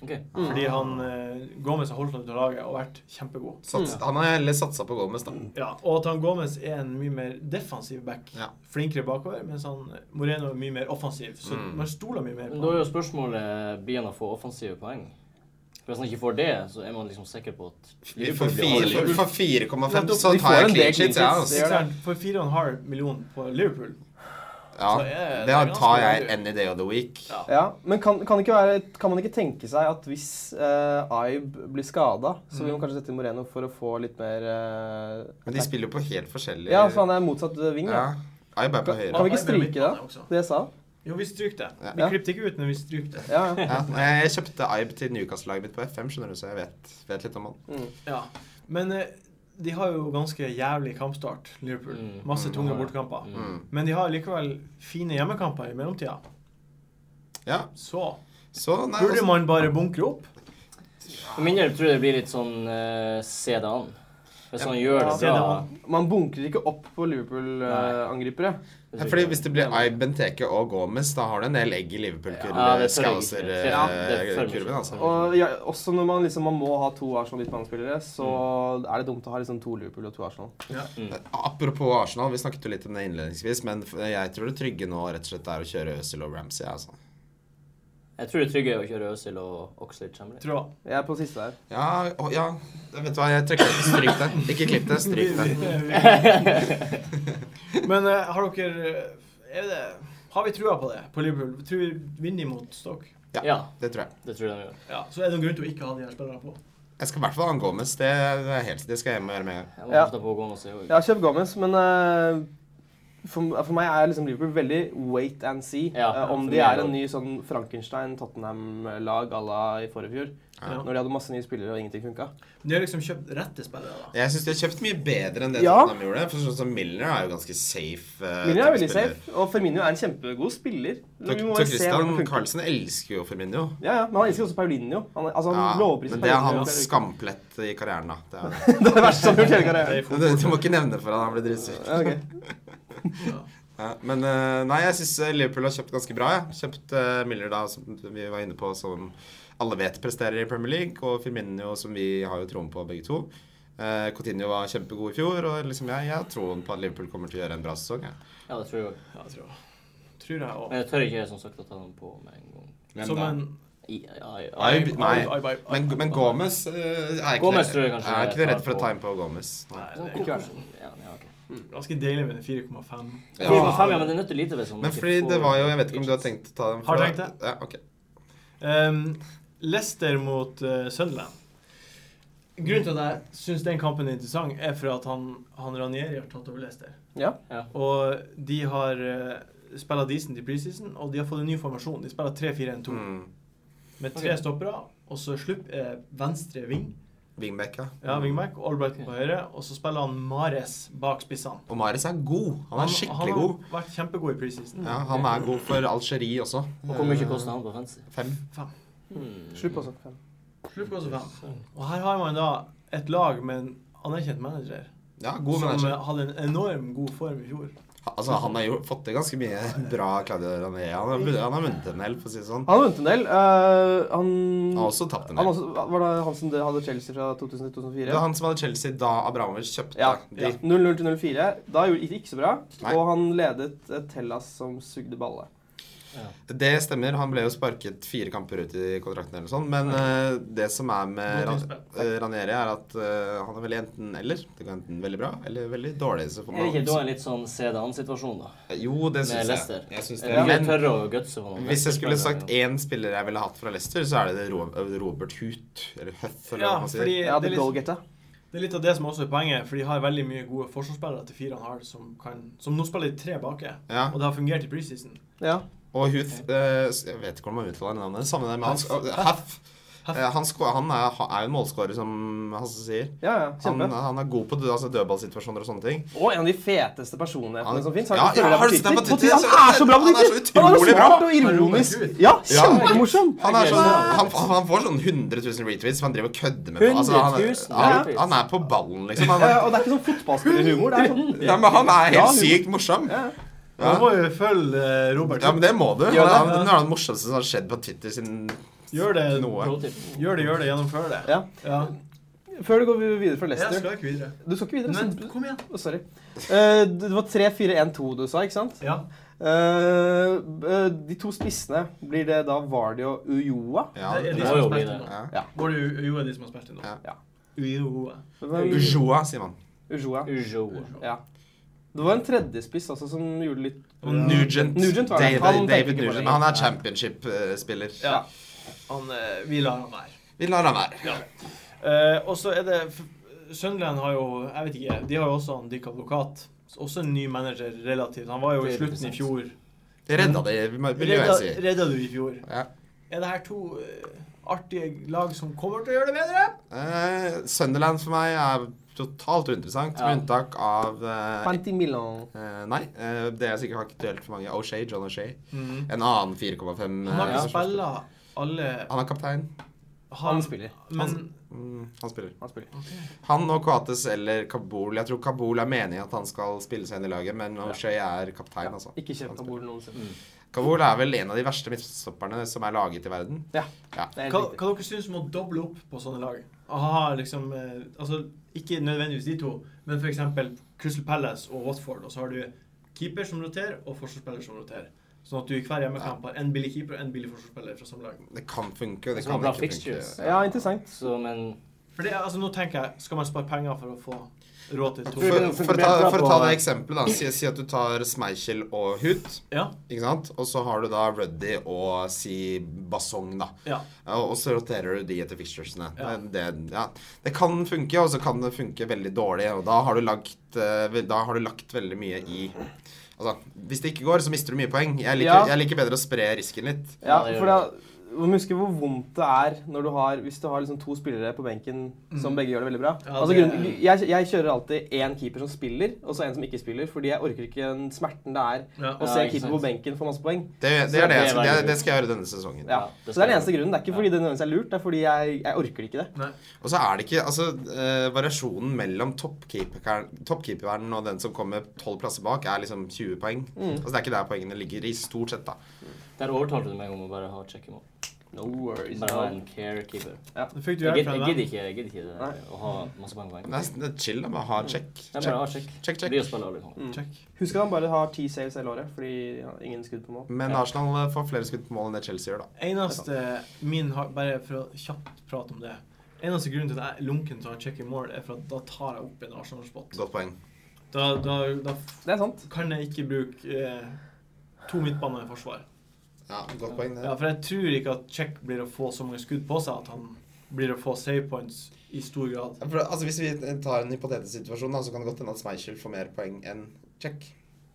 C: Ok.
B: Mm.
A: Fordi han eh, Gomez har holdt ham ut av laget og vært kjempegod.
D: Sats, han har heller satsa på Gomez, da.
A: Ja, og at han Gomez er en mye mer defensiv back.
D: Ja.
A: Flinkere bakover, mens han Moreno er mye mer offensiv. Så
D: Mm.
A: man stoler mye mer
C: Men
A: på
C: da
A: ham.
C: er jo spørsmålet blir han å få offensive poeng. For Hvis han ikke får det, så er man liksom sikker på at
D: Vi får
C: blir
D: fire- vi får 4,5,
A: Nettopp,
D: så
B: vi
D: tar
B: får
D: jeg
B: en
D: clean
B: del
D: sheets,
B: clean
D: jeg.
B: sheets,
D: altså.
B: det gjør det.
A: For 4,5 millioner på Liverpool
D: Ja,
A: Så er det
D: det
A: ganske
D: tar jeg
A: bra, du.
D: any day of the week.
A: Ja.
B: ja, men kan, kan, det ikke være, kan man ikke tenke seg at hvis eh, Aib blir skada,
D: Mm.
B: så vil man kanskje sette inn Moreno for å få litt mer eh,
D: Men de spiller jo på helt forskjellig
B: Ja, så han er motsatt ving,
D: ja.
B: da.
D: Jeg er bare på høyre.
B: Kan vi ikke stryke det? Det jeg sa?
A: Jo, vi stryker det. Vi
B: Ja.
A: klippet ikke ut, men vi stryker det.
B: Ja, ja.
D: Ja, jeg kjøpte Ibe til Newcastle-laget mitt på F5, skjønner du, så jeg vet, vet litt om han.
B: Mm.
A: Ja. Men eh, de har jo ganske jævlig kampstart, Liverpool.
C: Mm.
A: Masse
D: Mm.
A: tunge bortekamper.
D: Mm.
A: Men de har likevel fine hjemmekamper i mellomtida.
D: Ja,
A: Så
D: så nei,
A: burde
D: altså,
A: man bare bunkre opp.
C: For min del tror jeg det blir litt sånn eh, se det an. Hvis han gjør det
A: Se det
C: bra
A: an.
B: Man bunkrer ikke opp på eh, Liverpool-angripere.
D: ja, fordi Hvis det blir Ibe, Benteke og Gomez, da har du en del egg i
C: Ja, det tør jeg ikke. Ja, det tør jeg
D: Liverpool-kurven.
C: ikke.
D: eh, altså.
B: Og ja, også når man liksom man må ha to Arsenal midtbanespillere, så
D: Mm.
B: er det dumt å ha liksom to Liverpool og to Arsenal.
D: Apropos Arsenal, vi snakket jo litt om det innledningsvis, men f- jeg tror det trygge nå rett og slett er å kjøre Øzil og Ramsey. Altså.
C: Jeg tror det trygge er å kjøre Øzil og Oxlade Chamberlain.
A: Tror jeg.
B: Jeg er på siste der.
D: Ja, å, ja, vet du hva, jeg trekker Stryk det. Ikke klipp det, stryk det.
A: Men eh, har dere er det, Har vi trua på det på Liverpool? Tror vi vinner imot Stoke?
D: Ja.
C: Ja,
D: Det tror jeg.
C: det tror jeg de gjør.
A: Ja, Så er det noen grunn til å ikke ha de her spillerne på?
D: Jeg skal i hvert fall ha en Gomez. Det, er helt, det skal jeg hjem og gjøre med en gang.
C: Jeg må
B: Ja.
C: ofte på Gomez i
B: Jeg har kjøpt Gomez, men eh, for, for meg er liksom Liverpool veldig wait and see.
C: Ja,
B: Eh, om
C: for meg
B: de er
C: også.
B: en ny sånn Frankenstein-Tottenham-lag à la i forrige fjor.
A: Ja.
B: Når de hadde masse nye spillere og ingenting funka.
A: Men De har liksom kjøpt rette spillere, da.
D: Jeg syns de har kjøpt mye bedre enn det
B: Ja.
D: Tottenham gjorde. For sånn som Milner er jo ganske safe. eh,
B: Firmino er veldig
D: spiller.
B: safe, og Firmino er en kjempegod spiller.
D: Så
B: Vi må
D: så
B: bare se hvordan
D: Christian
B: det funker.
D: Carlsen elsker jo Firmino.
B: Ja, ja, men han elsker også Paulinho. Han, altså, han
D: Ja,
B: lovpriser
D: men det er
B: Paulinho
D: hans
B: hver uke.
D: skamplett i karrieren, da. Det er.
B: Det er det verste han har gjort i hele karrieren.
A: Det er
D: Men Du, du må ikke nevne det for han, han blir dritsur.
B: Ja, ok.
A: Ja.
D: Ja, men eh, nei, jeg syns Liverpool har kjøpt ganske bra. Ja. Kjøpt eh, Milner, da, som vi var inne på, som alle vet presterer i Premier League, og Firmino, som vi har jo troen på begge to. Uh, Coutinho var kjempegod i fjor, og liksom jeg, jeg har troen på at Liverpool kommer til å gjøre en bra sesong. jeg.
C: Ja, det tror jeg også.
A: Ja, tror jeg. Tror jeg også.
C: Men jeg tør ikke som sagt å ta dem på med en gang.
A: Som en
C: I, ja, ja, ja.
D: Nei,
A: Ibe-
D: nei.
A: Ibe- Ibe-
D: Men, men Gomez eh, er ikke,
C: Gomez tror jeg kanskje
D: er ikke det
C: jeg
D: redd
C: tar
D: for å
C: på.
D: ta inn på Gomez.
A: Nei, det er
C: Hvor-
A: ikke-
C: hvor- sånn ja, ja, ok.
A: Ganske deilig med den 4,5.
D: Ja.
C: 4,5, ja, men det nytter lite hvis han
D: Men
C: ikke
D: fordi
C: får-
D: det var jo Jeg vet ikke om du har tenkt å ta den?
A: Har
D: fra-
A: tenkt det.
D: Ja, ok.
A: Ehm, Leicester mot eh, Sunderland. Grunnen til at jeg syns den kampen er interessant, er for at han, han Ranieri har tatt over Leicester.
B: Ja.
A: Og de har uh, spilla decent i preseason, og de har fått en ny formasjon. De spiller 3-4-1-2
D: Mm.
A: med tre
C: Ok.
A: stoppere, og så slupp er venstre ving,
D: Wingback, ja.
A: ja, wingback, og Albright på høyre, og så spiller han Mares bak spissene.
D: Og Mares er god. Han er
A: han
D: skikkelig
A: har
D: god.
A: vært kjempegod i preseason.
D: Ja, han er god for Algerie også.
C: Og Hvor mye koster han på fancy?
D: Fem.
A: Fem.
C: Hmm.
B: Slutt på sånn.
A: Slupp går også fem. Og her har man da et lag med en anerkjent manager.
D: Ja, god
A: som
D: manager.
A: eh, hadde en enorm god form i fjor.
D: Ha- Altså, han har jo fått til ganske mye bra Claudio Rané. Han har vunnet- han har vunnet en del, for å si det sånn.
B: Han har vunnet en del. eh, han,
D: Han har også tapt en
B: han
D: del.
B: også, Var det han som hadde Chelsea fra 2000 til
D: Det var
B: 2004?
D: han som hadde Chelsea da Abramovic kjøpte
B: Ja.
D: de.
B: 0-0 til 04. Da gjorde det ikke så bra.
D: Nei.
B: Og han ledet et Hellas som sugde balle.
D: Det stemmer. Han ble jo sparket fire kamper ut i kontrakten eller sånn. Men eh, det som er med
A: Godt
D: Ran
A: innspill.
D: eh, Ranieri, er at eh, han er veldig enten-eller. Det går enten veldig bra eller veldig dårlig. Så får
C: Er det ikke da
D: man...
C: en litt sånn se det an-situasjon, da?
D: Jo, det
C: Med
D: syns jeg.
C: Leicester?
D: jeg syns det.
C: Eller
D: Men
C: ikke tørre å gutse på noen.
D: hvis jeg skulle sagt
C: Leicester-spillere.
D: én spiller jeg ville hatt fra Leicester, så er det det Ro- eh, Robert Hoot. Eller Huff, eller
A: Ja,
D: hva man sier.
A: fordi
B: Ja,
A: det
B: The
A: er liksom- litt,
B: Goalgetta.
A: Det er litt av det som også er poenget, for de har veldig mye gode forsvarsspillere til fire han har, som, kan, som nå spiller de tre bake.
D: Ja.
A: Og det har fungert i preseason.
B: Ja.
D: Og Huth eh, Jeg vet ikke hvordan man uttaler navnet. Samme det med hans Haff.
A: Haff.
D: Eh, Han, sko- han er, han er jo en målskårer, som Hasse sier.
B: ja, ja.
D: Han,
B: Kjempe.
D: han er god på død- altså dødballsituasjoner og sånne ting.
B: Og en av de feteste personlighetene
D: Han-
B: som fins.
D: Ja, ja, har du sett ham på Twitter?
B: Han er så bra på
D: Han er
B: Twitter!
D: så utrolig bra.
B: smart og ironisk. Ja, kjempemorsom.
D: Han, er
C: Ok,
D: sånn,
C: så-
D: han, han han får sånn 100 000 retweets som han driver og kødder med. Altså, han,
B: 100 000
D: han,
C: retweets.
D: han er på ballen, liksom. Han,
B: Ja,
D: er-
B: og det er ikke sånn fotballspillerhumor. Det er sånn
D: ja, men han er
B: Ja,
D: helt
B: hun-
D: sykt morsom.
B: Ja.
A: Nå må vi følge eh, Robert.
D: Ja, men det må du. Han
B: Gjør
D: er
B: det.
D: han er noe av det morsomste som har skjedd på Twitter siden
A: Gjør det.
D: noe.
C: Pro tip.
A: Gjør det, gjør det. Gjennomfør det.
B: Ja. Før du går videre fra
A: Jeg
B: Leicester
A: skal ikke videre.
B: Du skal ikke videre.
A: Men
B: så-
A: kom igjen.
B: Å, sorry. Eh, det var 3-4-1-2 du sa, ikke sant?
A: Ja.
B: Eh, eh, de to spissene, blir det da Vardy og Ujoa?
D: Ja, liksom.
A: det er de som
C: må jo
A: har
C: bli
A: spilt
C: det.
A: inn nå.
D: ja.
A: Både U- UiO er de som har spilt inn nå.
D: Ja.
B: Ja.
A: UiO.
B: Hvem-
D: Ujoa, sier man.
B: Ujoa.
C: Ujo.
B: Ja. Det var en tredjespiss også som gjorde litt
A: Og
D: Nugent.
B: Nugent var det.
D: David,
B: Han tenkte
D: David
B: ikke på det.
D: Nugent. Men han er championship-spiller.
A: Ja. Han, eh, vi lar han være.
D: Vi lar han være.
A: Eh, og så er det f- Sunderland har jo Jeg vet ikke, de har jo også han Dick Advokat. Også en ny manager relativt. Han var jo i
C: Det er
A: slutten i
C: interessant.
A: fjor.
D: Det redda de, vil
A: Redda,
D: jeg si.
A: redda du i fjor?
D: Ja.
A: Er det her to eh, artige lag som kommer til å gjøre det bedre?
D: Eh, Sunderland for meg er totalt uinteressant,
C: Ja.
D: med unntak av eh,
B: Panti Milan.
D: eh, Nei, eh, det er sikkert aktuelt for mange. O'Shea, John O'Shea. En annen 4,5
A: Han har ikke
D: eh,
C: Ja.
A: spilla alle
D: Han er kaptein.
B: Han spiller.
A: Men
D: Mm, han spiller.
B: Han spiller.
D: Han og Coates eller Kabul. Jeg tror Kabul er meningen at han skal spille seg inn i laget, men O'Shea er kaptein, altså.
B: Ikke kjøpt av bordet noensinne.
D: Kabul er vel en av de verste midtstopperne som er laget i verden.
B: Ja.
D: Ja.
B: Det er
A: hva,
B: helt riktig.
A: hva dere syns om å doble opp på sånne lag? Aha, liksom eh, Altså, ikke nødvendigvis de to, men f.eks. Crystal Palace og Watford, og så har du keeper som roterer, og forsvarsspiller som roterer. Sånn at du i hver hjemmekamp har en billig keeper og en billig forsvarsspiller fra samme lag.
D: Det kan funke, og det
C: Det
D: kan
C: var Altså, bra
D: ikke
C: fixtures.
D: funke.
B: Ja, interessant.
C: Så, men
A: For det, er- altså, nå tenker jeg, skal man spare penger for å få råd til
D: For,
A: to?
C: det funker
D: for, å ta,
C: bra
D: for å ta
C: på-
D: det eksempelet, da. Si, si at du tar Schmeichel og Hut.
A: Ja.
D: Ikke sant? Og så har du da Ruddy og si Basong, da.
A: ja.
D: Og og så roterer du de etter fixturesene.
A: Ja.
D: Det, det- ja. det kan funke, og så kan det funke veldig dårlig. Og da har du lagt, eh, ve- da har du lagt veldig mye i Altså, hvis det ikke går, så mister du mye poeng. Jeg liker,
B: Ja.
D: jeg liker bedre å spre risken litt.
B: Ja,
C: Ja, det gjør
B: for da man må huske hvor vondt det er når du har, hvis du har liksom to spillere på benken som begge gjør det veldig bra.
A: Ja,
B: altså,
A: det-
B: grunnen, jeg, jeg kjører alltid én keeper som spiller, og så en som ikke spiller, fordi jeg orker ikke den smerten det er
A: Ja.
B: å
C: Ja,
B: se
C: ikke
B: keeper
C: sant.
B: på benken få masse poeng.
D: Det, det,
C: Så
D: er det, jeg
C: det
D: skal-
C: var
D: det,
C: lurt.
D: det skal jeg gjøre denne sesongen.
B: Ja.
C: det
B: så det er
C: skal
B: den eneste grunnen. Det er ikke
C: Ja.
B: fordi det nødvendigvis er lurt, det er fordi jeg, jeg orker ikke det.
A: Nei.
D: Og så er det ikke Altså, eh, variasjonen mellom toppkeeper- toppkeeperen og den som kommer tolv plasser bak, er liksom 20 poeng. Altså, det er ikke der poengene ligger, i stort sett, da.
C: Der overtalte du meg om å bare ha check him up.
B: No worries.
C: Bare ha en carekeeper.
A: Det fikk du hjelp
C: Jeg gid-
A: fra
C: jeg
A: en
C: gidder
A: venn.
C: ikke, jeg gidder ikke det, å ha masse mange poeng.
D: Men Det er, det er chill da, med å ha check.
C: Jeg
D: check.
C: bare ha check.
D: Check, check.
C: Blir å spille alle kamper.
A: Check.
B: Husk at han bare har ti saves hele året, fordi han har ingen skudd på mål.
D: Men Arsenal eh, får flere skudd på mål enn det Chelsea gjør, da.
A: Eneste min har, Bare for å kjapt prate om det. Eneste grunnen til at jeg er lunken til å ha check i mål, er for at da tar jeg opp en Arsenal-spot.
D: Godt poeng.
A: Da, da, da
B: Det er sant.
A: kan jeg ikke bruke eh, to midtbaner i forsvar.
D: Ja, godt poeng det.
A: Ja, for jeg tror ikke at Check blir å få så mange skudd på seg at han blir å få save points i stor grad.
D: Ja, for, altså, hvis vi tar en hypotetisk situasjon, da, så kan det godt hende at Schmeichel får mer poeng enn check.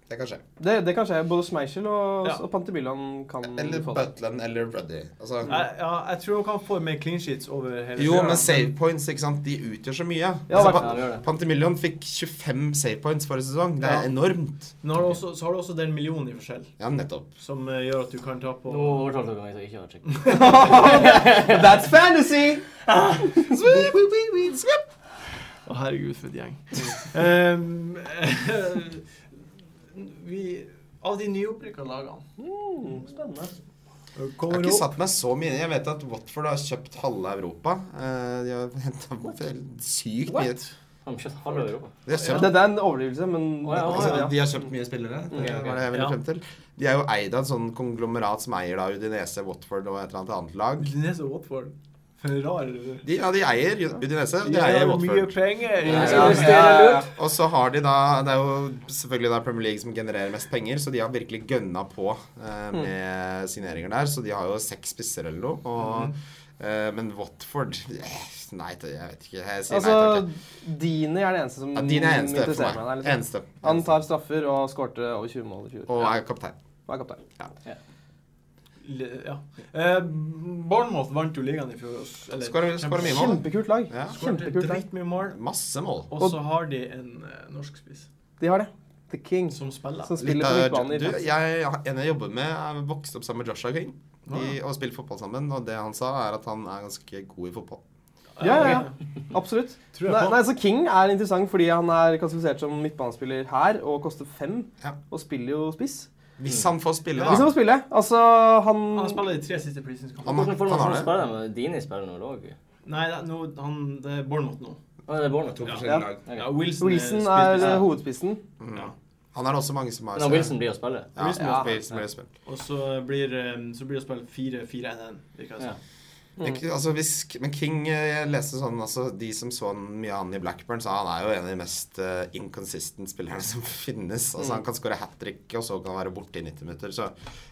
D: Det kan skje.
B: Det, det kan skje. Både Schmeichel og,
A: Ja.
B: og Pantibilan kan
D: Eller
B: få Mm, det.
D: Butland eller Ruddy. Altså,
A: Jeg, ja, jeg tror han kan få mer clean sheets over hele
D: jo,
A: serien,
D: men save points, ikke sant, de utgjør så mye.
B: Ja,
D: Altså,
B: hva-
C: Ja,
D: Pa-
C: gjør det.
D: Pantemillion fikk 25 save points forrige sesong. Det
A: Ja.
D: er enormt.
A: Men har du også, så har du også den millionen i forskjell,
D: Ja, nettopp.
A: som eh, gjør at du kan ta på
C: Nå overtalte du meg til å ikke ha check.
B: That's fantasy!
A: Å, herregud, for et gjeng. Ehm, vi, av de nyopprykka lagene
B: Mm, spennende.
D: Jeg
A: kommer
D: har ikke
A: opp
D: satt meg så mye inn i Jeg vet at Watford har kjøpt halve Europa. Eh, De har henta sykt mye
B: What?
C: Han kjøpte halve Europa.
D: De har
B: Ja,
D: kjøpt
B: det, det er en overdrivelse, men
C: Å, ja, å,
D: Altså,
B: ja.
D: De har kjøpt mye spillere. Det
C: Ok, ok.
D: var det jeg ville
A: Ja.
D: frem til. De er jo eid av et sånn konglomerat som eier da Udinese, Watford og et eller annet annet lag.
A: Udinese og Watford. For en rar
D: De, ja, de eier Ju- Udinese, og de
A: har
D: eier
A: mye
D: Watford.
A: penger.
D: Ja,
A: Jeg
D: ja,
A: skal investere
B: ja, ja.
A: lurt.
D: Og så har de da Det er jo selvfølgelig da Premier League som genererer mest penger, så de har virkelig gønna på eh, med signeringer der. Så de har jo seks spisser eller noe. Og Eh, men Watford eh, Nei, det- jeg vet ikke. Jeg sier nei takk.
B: Altså, Dini er det eneste som
D: Ja, Dine er eneste
B: interesserer
D: for
B: meg.
D: meg.
B: der, Liksom.
D: Eneste.
B: Han tar straffer og skårte over 20 mål i fjor.
D: Og er kaptein.
B: Og er kaptein.
A: Le- Ja. Eh, Bournemouth vant jo ligaen i fjor. også, eller-
D: Skårer skårer mye mål.
B: Kjempekult lag.
D: Ja.
A: Skårte
B: Kjempekult lag.
A: dritmye mål.
D: Masse mål.
A: Og så har de en eh, norsk spiss
B: De har det. The King.
A: som spiller.
B: Som
D: Litt
B: spiller på
D: av,
B: midtbanen i
D: du,
B: Frankrike.
D: jeg, en jeg jobber med, er vokst opp sammen med Joshua King i,
A: Ah.
D: og spiller fotball sammen. Og det han sa, er at han er ganske god i fotball.
B: Ja, ja,
A: ok.
B: ja. Absolutt.
A: Tror jeg
B: Nei,
A: på.
B: nei, så King er interessant fordi han er klassifisert som midtbanespiller her og koster fem.
D: Ja.
B: Og spiller jo spiss.
D: Hvis han får spille,
B: Hvis han
D: da.
B: får spille. Altså, han
A: Han spiller de tre siste preseason-kampene.
D: Han-
C: Hvordan
D: har
C: formasjon sånn
D: det.
C: spiller de? Dini spiller nå òg?
A: Nei, det er, nå- han, det er Bournemouth nå.
C: Å, det er Bournemouth.
D: To
C: Ja.
D: forskjellige lag.
C: Ok.
A: Ja, Wilson,
B: Wilson er
A: spillspiss.
B: eh, hovedspissen.
A: Ja.
D: Han er det også mange som har
C: Men han Wilson blir å spille.
D: Ja,
A: Wilson
D: ja,
B: blir-
D: Wilson blir spilt.
A: Og så blir, eh, så blir det spilt 4-4-1-1, virker det
C: Ja.
A: som. Mm.
D: Men k- Altså, hvis, men King eh, Jeg leste sånn altså, De som så han mye av han i Blackburn, sa han er jo en av de mest uh, inconsistent spillerne som finnes. Altså,
A: Mm.
D: Han kan skåre hat trick, og så kan han være borte i 90 minutter. Så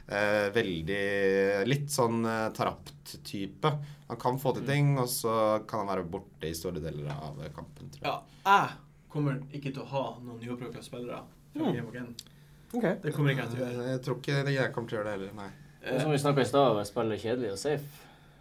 D: eh, veldig Litt sånn eh, Tarapt-type. Han kan
A: Mm.
D: få til ting, og så kan han være borte i store deler av eh, kampen. Tror jeg.
A: Ja, jeg kommer ikke til å ha noen nyoppbrukte spillere fra
B: Mm.
A: Game of Game.
B: Ok.
A: Det kommer ikke jeg til å gjøre.
D: Eh, Jeg tror ikke jeg kommer til å gjøre det heller, nei.
C: Og som vi snakka i stad, spiller kjedelig og safe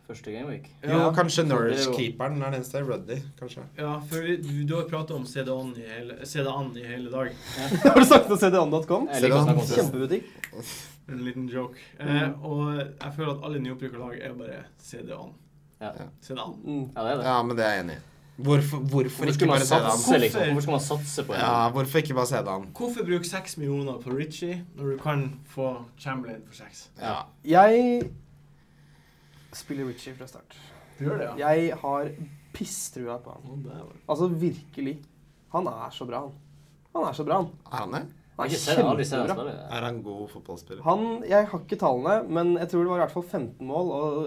C: første gameweek.
D: Jo,
A: Ja.
D: kanskje
C: jo-
D: Norwich-keeperen er den eneste. Ruddy, kanskje.
A: Ja, for vi, du, du har prata om CDAN i hele, CDAN i hele dag.
B: Har du snakket om cdan.com?
C: Jeg liker å snakke om det.
B: Kjempebutikk.
A: En liten joke. Eh, og jeg føler at alle nyoppbrukte lag er bare CDAN.
C: Ja.
A: CDAN.
B: Mm.
C: Ja, det er det.
D: Ja, men det er jeg enig i. Hvorfor, hvorfor
C: Hvorfor
D: ikke
C: skulle man
D: bare se det an?
C: satse, liksom? Hvorfor skulle man satse på en?
D: Ja, hvorfor ikke bare se det an?
A: Hvorfor bruke seks millioner på Ritchie når du kan få Chamberlain for seks?
D: Ja.
B: Jeg spiller Richie fra start.
A: Du gjør det,
B: Jeg har pisstrua på han.
A: Å, dæven.
B: Altså virkelig. Han er så bra, han. Han er så bra, han.
D: Er han det?
B: Han
C: Ikke
B: er
C: se det, aldri se det
B: kjempebra.
C: spille.
D: Er han god fotballspiller?
B: Han, jeg har ikke tallene, men jeg tror det var i hvert fall 15 mål og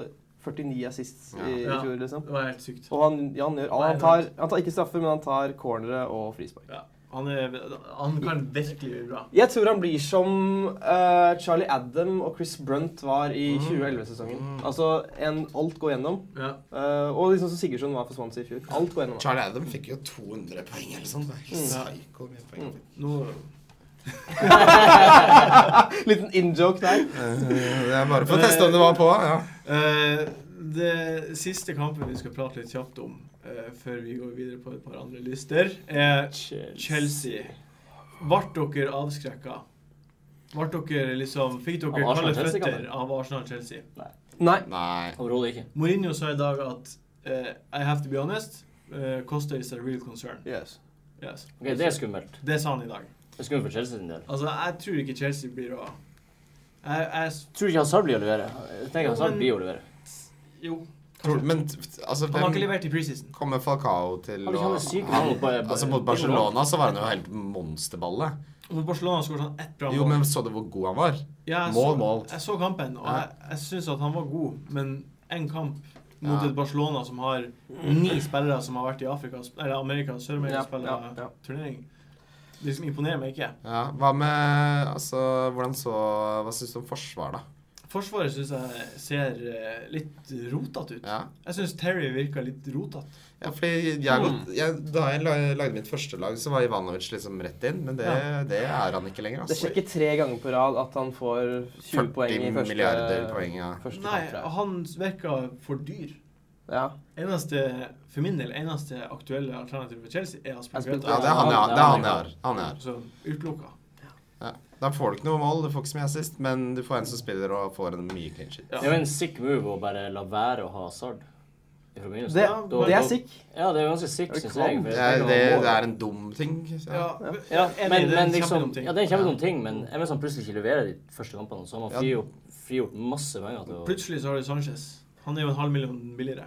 B: 49 assists i, i
A: Ja.
B: fjor. liksom.
A: Det var helt sykt.
B: Og han, ja, han gjør alt. Han tar, han tar ikke straffer, men han tar cornere og frispark.
A: Ja. Han, er, han kan virkelig gjøre bra.
B: Jeg tror han blir som eh, Charlie Adam og Chris Brunt var i
D: Mm.
B: 2011-sesongen.
D: Mm.
B: Altså, en, alt går gjennom.
A: Ja.
B: Eh, og liksom som Sigurdsson var for Swansea i fjor. Alt går gjennom.
D: Charlie Adam fikk jo 200 poeng eller sånt. Det er ikke
B: Mm.
D: psyko mye poeng.
B: Mm.
A: Nå,
B: Liten in-joke der.
D: Eh, Det er bare for å teste om det var på. Ja.
A: eh, det siste kampen vi skal prate litt kjapt om eh, før vi går videre på et par andre lister, er Chelsea. Ble dere avskrekka? Ble dere liksom, fikk
C: Av
A: dere kalde
C: Arsenal-Chelsea-kampen?
A: føtter av Arsenal-Chelsea?
B: Nei.
D: Nei.
C: Overhodet ikke.
A: Mourinho sa i dag at eh, I have to be honest, eh, Costa is a real concern.
B: Yes.
A: Yes.
C: Ok, Det er skummelt.
A: Det sa han i dag.
C: Det er skummelt for Chelsea sin del.
A: Altså, jeg tror ikke Chelsea blir å jeg, jeg, s-
C: Tror du ikke Hazard blir å levere? Jeg tenker Hazard blir å levere.
A: Jo.
D: Tror, men t- altså,
A: Han har ikke
D: hvem
A: levert i preseason.
D: kommer Falcao til
C: Han er ikke
D: å
C: han er syk,
D: Han-
C: han er bare-
D: Altså Mot Barcelona så var han jo helt monsterballe.
A: Og Barcelona skåret sånn ett bra
D: Jo, men så du hvor god han var?
A: Ja, jeg
D: mål,
A: så,
D: mål.
A: Jeg så kampen, og
D: Ja.
A: jeg, jeg syns at han var god, men én kamp mot
D: Ja.
A: et Barcelona som har ni spillere som har vært i Afrika, eller Amerika, Sør-Amerika,
B: Ja,
A: spiller
B: ja, ja.
A: turnering. Det liksom imponerer meg ikke.
D: Ja, Hva med Altså, hvordan så Hva syns du om forsvar, da?
A: Forsvaret syns jeg ser eh, litt rotete ut.
D: Ja.
A: Jeg syns Terry virka litt rotete.
D: Ja, fordi jeg har gått, jeg, Da jeg la- lagde mitt første lag, så var Ivanovic liksom rett inn. Men det,
A: Ja.
D: det er han ikke lenger.
B: Det
D: Altså.
B: skjer ikke tre ganger på rad at han får 20 poeng i
D: 40
B: første
D: milliarder poeng, ja.
B: Første
A: Nei,
B: kamp, tror jeg.
A: han virka for dyr.
B: ja.
A: Eneste, for min del, eneste aktuelle alternativet for Chelsea er Aspen
B: Aspilicueta.
D: Ja, det er han jeg har. Det er han jeg har. Han jeg har.
A: Så utelukka.
D: Ja. Da får du ikke noe mål, du får ikke så mye assist, men du får en som spiller og får en mye clean shit.
C: Det er jo en sick move å bare la være å ha Hazard. fra begynnelsen.
B: Det,
A: Ja,
C: Da-
B: det
C: da-
B: er sick.
C: Ja, det er ganske sick,
B: Er det
C: syns
B: kvalm?
C: jeg. for
D: Det
C: jeg
D: er,
C: tenker
D: det,
C: han må-
D: det er en dum ting. Ja.
A: Ja, enig,
C: Ja, men,
A: det er en
C: men liksom,
A: kjempedum ting.
C: ja, det er en kjempedum ting, men jeg mener sånn plutselig ikke leverer de første kampene, så har man
D: Ja.
C: frigjort, frigjort masse penger til å
A: Plutselig så har du Sanchez. Han er jo en halv million billigere.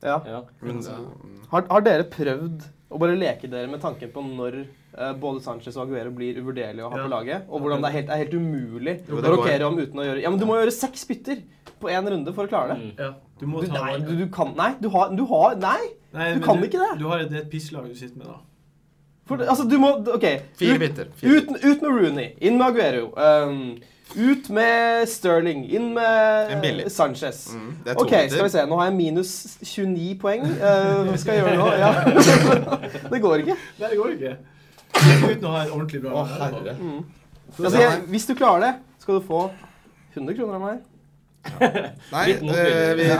B: Ja.
C: ja.
D: Men, så- mm.
B: Har, har dere prøvd å bare leke dere med tanken på når eh, både Sanchez og Aguero blir uvurderlige å ha
A: Ja.
B: på laget? Og hvordan det er helt, er helt umulig
D: Jo,
B: å
D: det går.
B: rokere om uten å gjøre Ja, men du må gjøre seks bytter på én runde for å klare det.
C: Mm.
A: Ja, du må
B: Du,
A: ta
B: nei, du, du kan Nei, du har, du har Nei!
A: Nei,
B: du
A: men
B: kan ikke det.
A: Du har et, det er et pisslag du sitter med, da.
B: For, altså, du må OK.
D: Fire
B: Ut,
D: bytter. Fire.
B: ut, ut med Rooney, inn med Aguero. ehm, Ut med Sterling, inn
D: En
B: med
D: billig.
B: Sanchez.
D: Mm, det er to
B: Ok, skal vi
D: minutter.
B: se. Nå har jeg minus 29 poeng. Eh, hva skal jeg gjøre nå? Ja. det går ikke.
A: Nei, det går ikke. Uten å ha en ordentlig bra
D: Å,
A: vær.
D: herre.
B: Mm.
D: Så
B: Altså,
D: det
B: jeg, hvis du klarer det, skal du få 100 kroner av meg.
D: Nei,
C: Litt motvillig.
D: eh, vi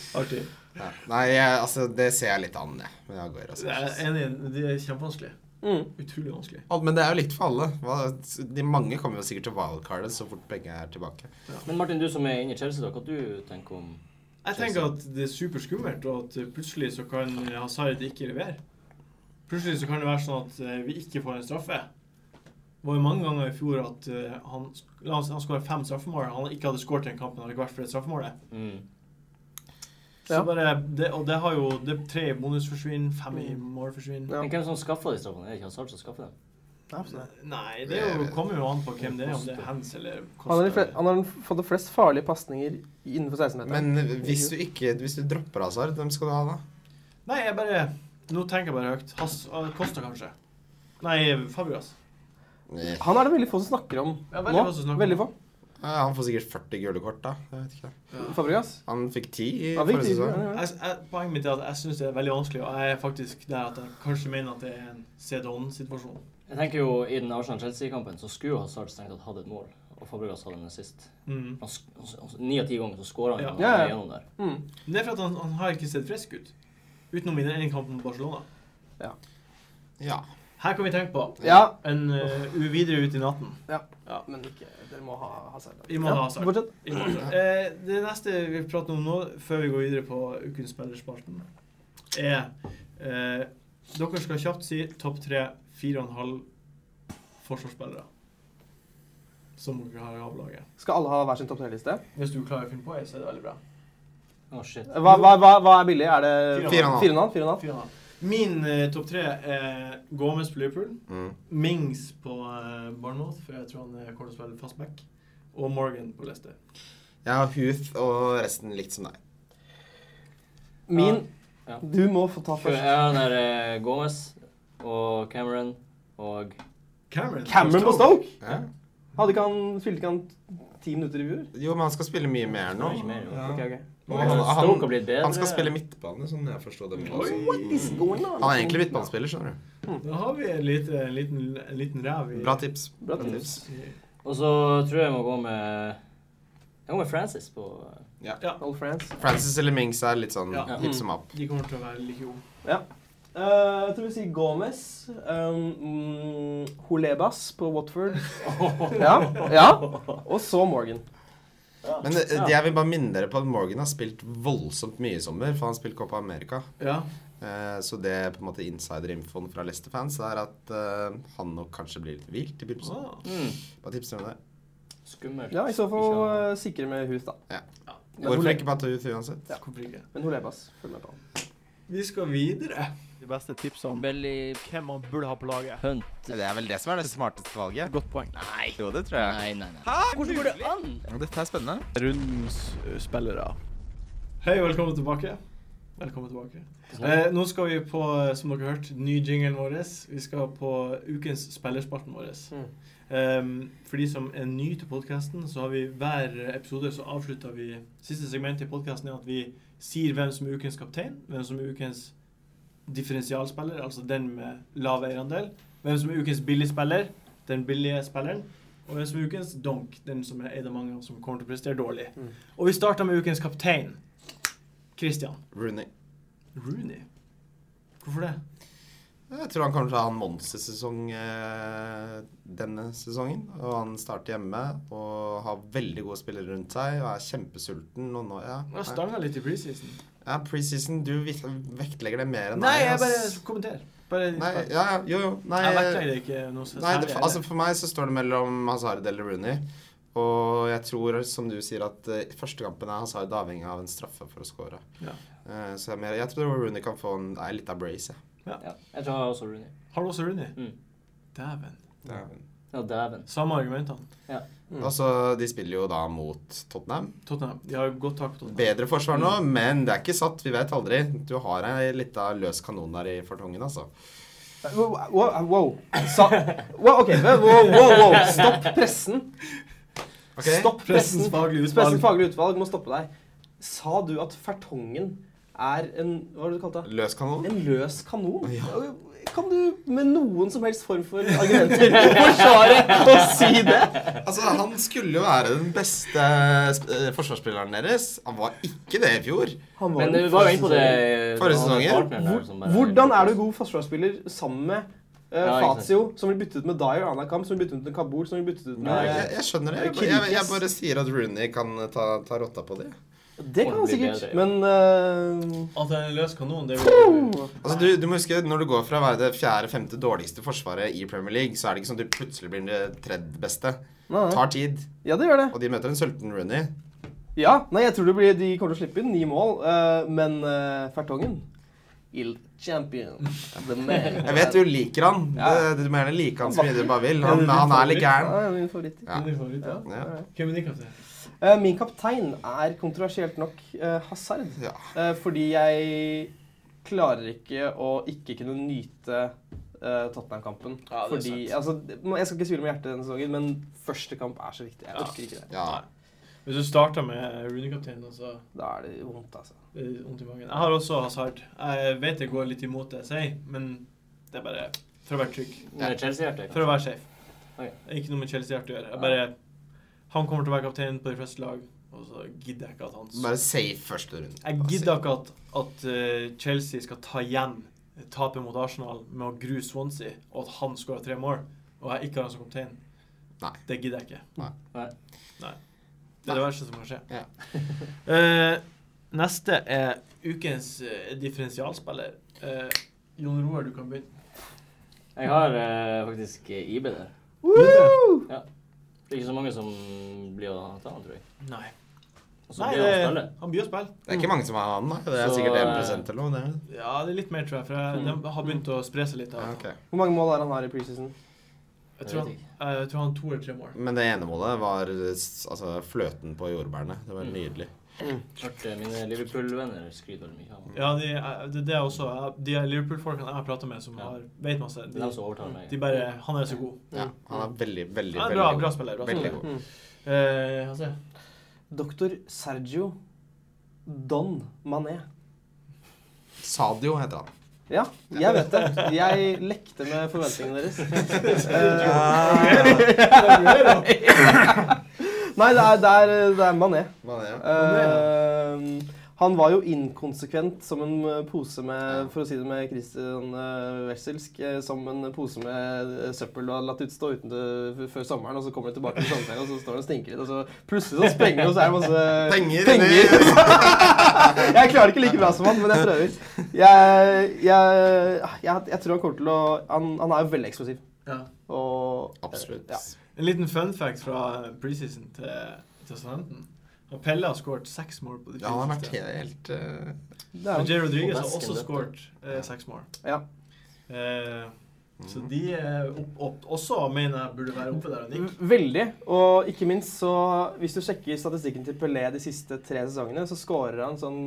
A: Artig.
D: ja. Nei, jeg, altså, det ser jeg litt an, jeg. Men jeg går,
A: Jeg er
D: altså.
A: enig. Det er kjempevanskelig.
B: Mm.
A: Utrolig vanskelig.
D: Al- Men det er jo likt for alle. Hva- De mange kommer jo sikkert til wildcardet så fort penger er tilbake.
C: Men Martin, du som er inne i Chelsea, da, hva du tenker om
A: Jeg tenker at det er superskummelt, og at plutselig så kan Hazard ikke levere. Plutselig så kan det være sånn at eh, vi ikke får en straffe. Det var jo mange ganger i fjor at eh, han, sk- la oss- han skåra fem straffemål. Han ikke hadde skåret i en kamp, men hadde ikke vært for det straffemålet.
C: mm.
A: Så
B: Ja.
A: bare, det, og det har jo det er tre i bonus forsvinner, fem i
B: Mm.
A: mål forsvinner.
B: Ja.
C: Men hvem som skaffa de straffene? Er det ikke Hazard som skaffer dem?
A: Nei, det er jo, kommer jo an på hvem det er, om det er hands eller
B: Han har, de fle-
A: Costa.
B: han har fått de flest farlige pasninger innenfor 16-meteren.
D: Men hvis du ikke Hvis du dropper Hazard, hvem skal du ha da?
A: Nei, jeg bare Nå tenker jeg bare høyt. Has, Kosta, kanskje. Nei, Fabregas.
D: Nei.
B: Han er det veldig få som snakker om
A: Ja, veldig
B: nå.
A: få som snakker om.
B: Veldig få.
D: Ja, han får sikkert 40 gule kort, da. Jeg vet ikke.
B: Fabregas.
D: Han fikk 10 i
B: Han fikk
D: forrige
B: ti,
D: sesong.
B: ja, ja.
A: Jeg, jeg, poenget mitt er at jeg syns det er veldig vanskelig, og jeg er faktisk der at jeg kanskje mener at det er en Cedon-situasjon.
C: Jeg tenker jo I den Arsenal-Chelsea-kampen så skulle jo Hazard strengt tatt hatt et mål, og Fabregas hadde en assist.
A: Mm.
C: Han sk- han s- han s- Ni av ti ganger så skårer han
A: Ja.
C: ja.
B: Ja, ja.
C: gjennom der.
B: Mm.
A: Men det er for at han, han har ikke sett frisk ut. Utenom i den ene kampen mot Barcelona.
D: Ja.
A: Her kan vi tenke på
B: ja.
A: en uh, videre ut i natten.
B: Men ikke Dere må ha Hazard.
A: Vi må ha Hazard.
B: Fortsett.
A: I morgen. Eh, det neste vi prater om nå, før vi går videre på ukens spillerspalten, er eh, Dere skal kjapt si topp tre fire og en halv forsvarsspillere. Som dere har i avlaget.
B: Skal alle ha hver sin topp tre-liste?
A: Hvis du klarer å finne på ei, så er det veldig bra.
C: Å, shit.
B: Hva, hva, hva, hva er billig? Er det
D: Fire og en halv.
B: 4,5? 4,5?
A: Fire og en halv. Min eh, topp tre er Gomez på Liverpool,
D: Mm.
A: Mings på eh, Bournemouth, for jeg tror han eh, kommer til å spille fastback, og Morgan på Leicester.
D: Jeg har Huth og resten likt som deg.
B: Min
C: Ja.
B: Du må få ta
C: Jeg
B: først.
C: har den der eh, Gomez og Cameron og
A: Cameron,
B: Cameron på Stoke?
D: Ja.
B: Hadde ikke han, Spilte ikke han ti minutter i fjor?
D: Jo, men han skal spille mye mer nå.
C: Ikke mer, jo.
D: Ja.
B: Ok, ok.
D: Og
C: Men
D: han- han-
C: Stoke har blitt bedre.
D: Han skal spille midtbane, sånn jeg forstår det. Mm.
A: Oi.
D: Han
B: What is going on?
D: er egentlig midtbanespiller, skjønner du.
A: Da har vi en liten, en liten, en liten ræv i
D: Bra tips.
B: Bra
C: tips.
A: i-
C: Og så tror jeg jeg må gå med Jeg må med Francis på
B: Old France.
D: Francis eller Mings er litt sånn
A: Ja.
D: hipp som happ.
A: De kommer til å være like gode.
B: Eh, jeg tror vi sier Gomez. Um, mm, Holebas på Watford. ja, ja. Og så Morgan.
D: Men eh, jeg vil bare minne dere på at Morgan har spilt voldsomt mye i sommer, for han spilte Copa America.
A: Ja.
D: Eh, Så det er på en måte insider-infoen fra Leicester-fans er at eh, han nok kanskje blir litt vilt i begynnelsen.
A: Ah.
C: mm.
D: Bare tips om det.
C: Skummelt.
B: Ja, I så fall
C: Ikke
B: eh,
C: ha-
B: sikre med hus, da. Men
D: Hvorfor
B: Ole-
D: ikke bare ta ut uansett?
B: Ja.
A: Hvorfor ikke?
B: Men Holebas. Følg med på han.
A: Vi skal videre. De beste tipsene
B: eh,
A: om
C: Belly
A: hvem man burde ha på laget.
C: Hunt.
D: Det er vel det som er det smarteste valget.
A: Godt poeng.
D: Nei. Jo, det tror
C: Nei, nei, nei. Hvordan går det an?
D: Dette er spennende.
A: Rundens spillere. Hei, velkommen tilbake. Velkommen tilbake.
C: Eh,
A: Eh, nå skal vi på, eh, som dere har hørt, ny jinglen vår. Vi skal på ukens spillerspalten vår.
B: Mm.
A: Ehm, for de som er nye til podkasten, så har vi hver episode så avslutter vi Siste segment i podkasten er at vi sier hvem som er ukens kaptein, hvem som er ukens differensialspiller, altså den med lav eierandel, hvem som er ukens billigspiller, den billige spilleren, og hvem som er ukens donk, den som er eid av mange og som kommer til å prestere dårlig.
B: Mm.
A: Og vi starter med ukens kaptein, Christian.
D: Rooney.
A: Rooney? Hvorfor det?
D: Jeg tror han kommer til å ha en monstersesong eh, denne sesongen. Og han starter hjemme og har veldig gode spillere rundt seg og er kjempesulten. Og nå, ja.
A: Han har stanga litt i preseason.
D: ja, preseason, du vi- vektlegger det mer enn
A: Nei,
D: meg.
A: jeg bare
D: ass.
A: kommenter. Bare
D: Nei, ja, ja, jo, jo. Nei, eh,
A: jeg vektlegger ikke noe
D: Nei, det,
A: særlig.
D: altså For meg så står det mellom Hazard eller Rooney. Og jeg tror, som du sier, at eh, første kampen er Hazard avhengig av en straffe for å score.
A: Ja.
D: Eh, så jeg, er mer- jeg tror Rooney kan få en, nei, litt av brace. jeg.
C: ja. Jeg tror jeg har også Rooney.
A: Har du også Rooney?
C: Mm.
A: Dæven.
D: Mm.
C: Ja, dæven.
A: Samme argumentene.
B: Mm.
D: Og så Altså, De spiller jo da mot Tottenham.
A: Tottenham. De har jo godt tak på Tottenham.
D: Bedre forsvar nå, men det er ikke satt. Vi vet aldri. Du har ei lita løs kanon der i fortongen, altså.
B: Eh, Wow. wow, wow. Sa, wow ok, wow, wow, wow. Stopp pressen.
D: Ok?
B: Stopp pressen.
A: Pressens faglige utvalg.
B: Pressens faglige utvalg må stoppe deg. Sa du at fertongen er en Hva var det du kalte det?
D: Løs kanon.
B: En løs kanon?
D: Ja.
B: Kan du med noen som helst form for argumenter forsvare å si det?
D: Altså, han skulle jo være den beste sp- eh, forsvarsspilleren deres. Han var ikke det i fjor.
B: Han
C: Men vi var jo inne på det
D: Forrige
C: han
D: sesongen.
C: partneren der
B: Hvor-
C: som bare-
B: Hvordan er du god forsvarsspiller sammen med eh,
C: Ja, ikke sant.
B: Fazio, som blir byttet ut med Dyer annenhver kamp, som blir byttet ut med Kabul, som blir byttet ut
D: Men
B: med
D: jeg, jeg skjønner det. Jeg, ba- jeg, jeg bare sier at Rooney kan ta, ta rotta på det.
B: Det kan han sikkert,
C: Ordentlig bedre, ja.
B: men eh,
A: At det er en løs kanon, det vil
D: Altså, du, du må huske, Når du går fra å være det fjerde-femte dårligste forsvaret i Premier League, så er det ikke sånn at du plutselig blir det tredje beste.
B: nei, nei.
D: Tar tid.
B: Ja, det gjør det.
D: Og de møter en sulten Rooney.
B: Ja, nei, jeg tror det blir, de kommer til å slippe inn ni mål, eh, men eh, Fertongen Il champion. The man.
D: Jeg vet du liker han.
B: Ja.
D: Det, du må gjerne like han så mye du bare vil. Han, han er litt
B: Ja,
D: gæren.
B: det er min favoritt.
D: Ja.
A: Din favoritt, ja.
D: Ja.
A: Hvem er din kaptein?
B: Eh, min kaptein er kontroversielt nok eh, Hazard.
D: Ja.
B: Eh, fordi jeg klarer ikke å ikke kunne nyte eh, Tottenham-kampen.
A: Ja, det er
B: fordi, altså, det- må- Jeg skal ikke svile med hjertet denne sesongen, men første kamp er så viktig. Jeg
A: Ja.
B: orker ikke det.
D: ja.
A: Hvis du starter med Rooney-kapteinen, så
B: Da er det vondt, altså.
A: er det vondt i magen. Jeg har også Hazard. Jeg vet det går litt imot det jeg sier, men det er bare for å være trygg.
C: Med Chelsea-hjerte?
A: For å være safe.
C: Ok.
A: Ikke noe med Chelsea-hjerte å gjøre. Jeg bare Han kommer til å være kaptein på de fleste lag, og så gidder jeg ikke at hans
D: Bare safe første runde.
A: Jeg gidder ikke at, at eh, Chelsea skal ta igjen tapet mot Arsenal med å grue Swansea, og at han skårer tre mål, og jeg ikke har han som kaptein.
D: Nei.
A: Det gidder jeg ikke.
D: Nei.
C: Nei.
A: Nei. Det er det verste som kan skje.
D: Ja.
A: Eh, neste er ukens eh, differensialspiller. Eh, Jon Roar, du kan begynne.
C: Jeg har eh, faktisk eh, IB der.
B: Woo!
C: Det er ikke så mange som blir å ta han, tror jeg.
A: Nei.
C: Og så
A: Nei eh,
C: blir
A: det,
C: han å spille.
A: han blir å spille.
D: Det er ikke mange som har han, da. Det er
C: Så,
D: sikkert
C: eh,
D: 1 eller noe. Det er.
A: Ja, det er litt mer, tror jeg, for jeg, de har begynt å spre seg litt.
D: Ja,
A: av.
D: ok.
B: Hvor mange mål er det han har i preseason?
A: Jeg tror han, jeg tror han har to eller tre mål.
D: Men det ene målet var eh, s- altså, fløten på jordbærene. Det var nydelig.
C: Hørt eh, mine Liverpool-venner skryte veldig mye av han.
A: Ja, de, er- det, det er også jeg- De er Liverpool-folkene jeg har prata med, som
C: Ja.
A: har, vet masse,
C: Det er
A: de,
C: de som overtar meg.
A: de bare Han er så god.
D: Ja, han er veldig, veldig,
A: Ja,
D: veldig
A: bra,
D: god.
A: bra spiller. Bra
D: Veldig
A: spiller.
D: god.
A: Eh, hva sier jeg?
B: Mm. Doktor Sergio Don Mané.
D: Sadio heter han.
B: Ja, jeg vet det. Jeg lekte med forventningene deres. Nei, det er, det er, det er Mané.
D: Hva er det?
B: Eh, han var jo inkonsekvent som en eh, pose med, for å si det med Christian eh, Wesselsk, eh, som en pose med eh, søppel du har latt utstå uten det, før sommeren, og så kommer du tilbake til sommerferien, og så står den og stinker litt, og så plutselig så sprenger det, og så er det masse
D: Penger!
B: Penger.
D: eller-
B: jeg klarer det ikke like bra som han, men jeg prøver. Jeg, jeg, jeg, jeg tror han kommer til å Han, han er jo veldig eksplosiv.
A: Ja.
B: Og
D: Absolutt.
B: Ja.
A: En liten fun fact fra preseason til, til Southampton. Og Pelle har skåret seks mål på de
D: Ja, han har vært
A: siste.
D: helt eh,
B: det er
A: Og
B: han.
A: Jay Rodriguez har
C: På
A: også
C: vasken, vet du.
A: skåret eh, seks mål.
B: Ja.
A: Eh,
D: Mm.
A: så de er opp, opp, også mener jeg burde være oppe der og nikke.
B: Veldig. Og ikke minst så Hvis du sjekker statistikken til Pelé de siste tre sesongene, så scorer han sånn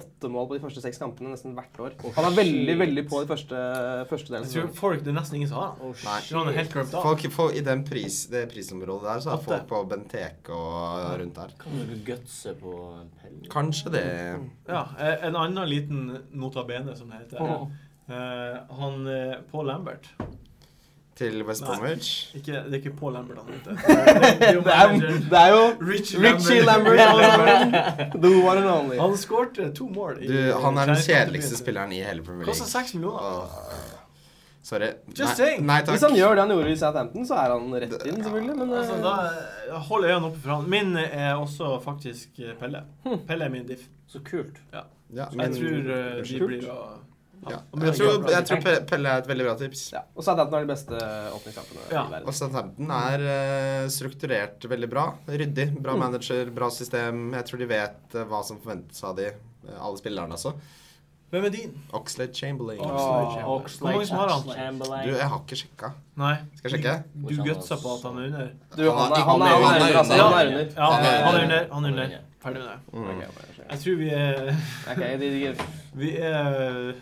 B: åtte mål på de første seks kampene nesten hvert år.
C: Å,
B: Han er veldig,
C: shit.
B: veldig på de første, første
A: Jeg
B: delen. av
A: tror
B: sesongen.
A: folk, Det er nesten ingen som har han.
C: Oh,
D: Nei.
A: Jeg tror han er helt curved av.
D: folk, folk I den pris, det prisområdet der, så er
A: Åtte.
D: folk på Benteke og rundt der.
C: Kan du gutse på en pelle?
D: Kanskje det
A: Ja, eh, en annen liten nota bene, som det heter.
B: Åh.
A: Eh, han eh, Paul Lambert
D: til West
A: Nei.
D: Bromwich.
A: ikke, Det er ikke Paul Lambert han heter. Det er jo
B: Det er,
A: manageren.
B: det er jo
A: Richie
B: Richie Lambert. The one and only.
A: Han skårte to mål. i-
D: Du, han er den kjedeligste
A: Champions League.
D: spilleren i hele Premier
A: Koster
D: League.
A: seks millioner.
D: Åh. Sorry.
A: Just
D: Nei,
A: saying.
D: nei
B: Hvis han
D: takk.
B: gjør det han gjorde i Southampton, så er han rett inn, selvfølgelig. Men
A: Altså,
B: eh,
A: da jeg holder øynene oppe for han. Min er også faktisk eh, Pelle.
B: Hm.
A: Pelle er min diff.
C: Så kult.
D: Ja,
A: Jeg
D: men-
A: tror eh, de
D: Kult.
A: blir å
D: Ja.
A: Men
D: Jeg
A: det
D: tror,
A: gjør bra.
D: jeg tror Pe- Pelle er et veldig bra tips.
B: ja. Og Southampton har de beste åpningskampene
A: Ja.
B: i
D: Og
B: verden.
D: Southampton er eh, strukturert veldig bra. Ryddig. Bra manager, bra system. Jeg tror de vet eh, hva som forventes av de. eh, Alle spillerne, altså.
A: Hvem er din?
D: Oxlade Chamberlain.
A: Oxlade.
C: Åh,
A: Hvor mange som har han?
D: Du,
C: Chamberlain.
D: jeg har ikke sjekka.
A: Nei.
D: Skal jeg sjekke?
A: Du gutsa på at han er under.
B: Du, han
D: Han
B: er, han
D: er-
B: er, han er
D: han er
B: under, altså. Han er
C: under.
B: under.
A: Ja, han er- han er under. Han er
C: Han er
A: under.
C: under.
A: Ferdig med det.
D: Mm.
B: Ok, bare skjer.
A: Jeg tror vi er
B: Ok, de- de-
A: Vi er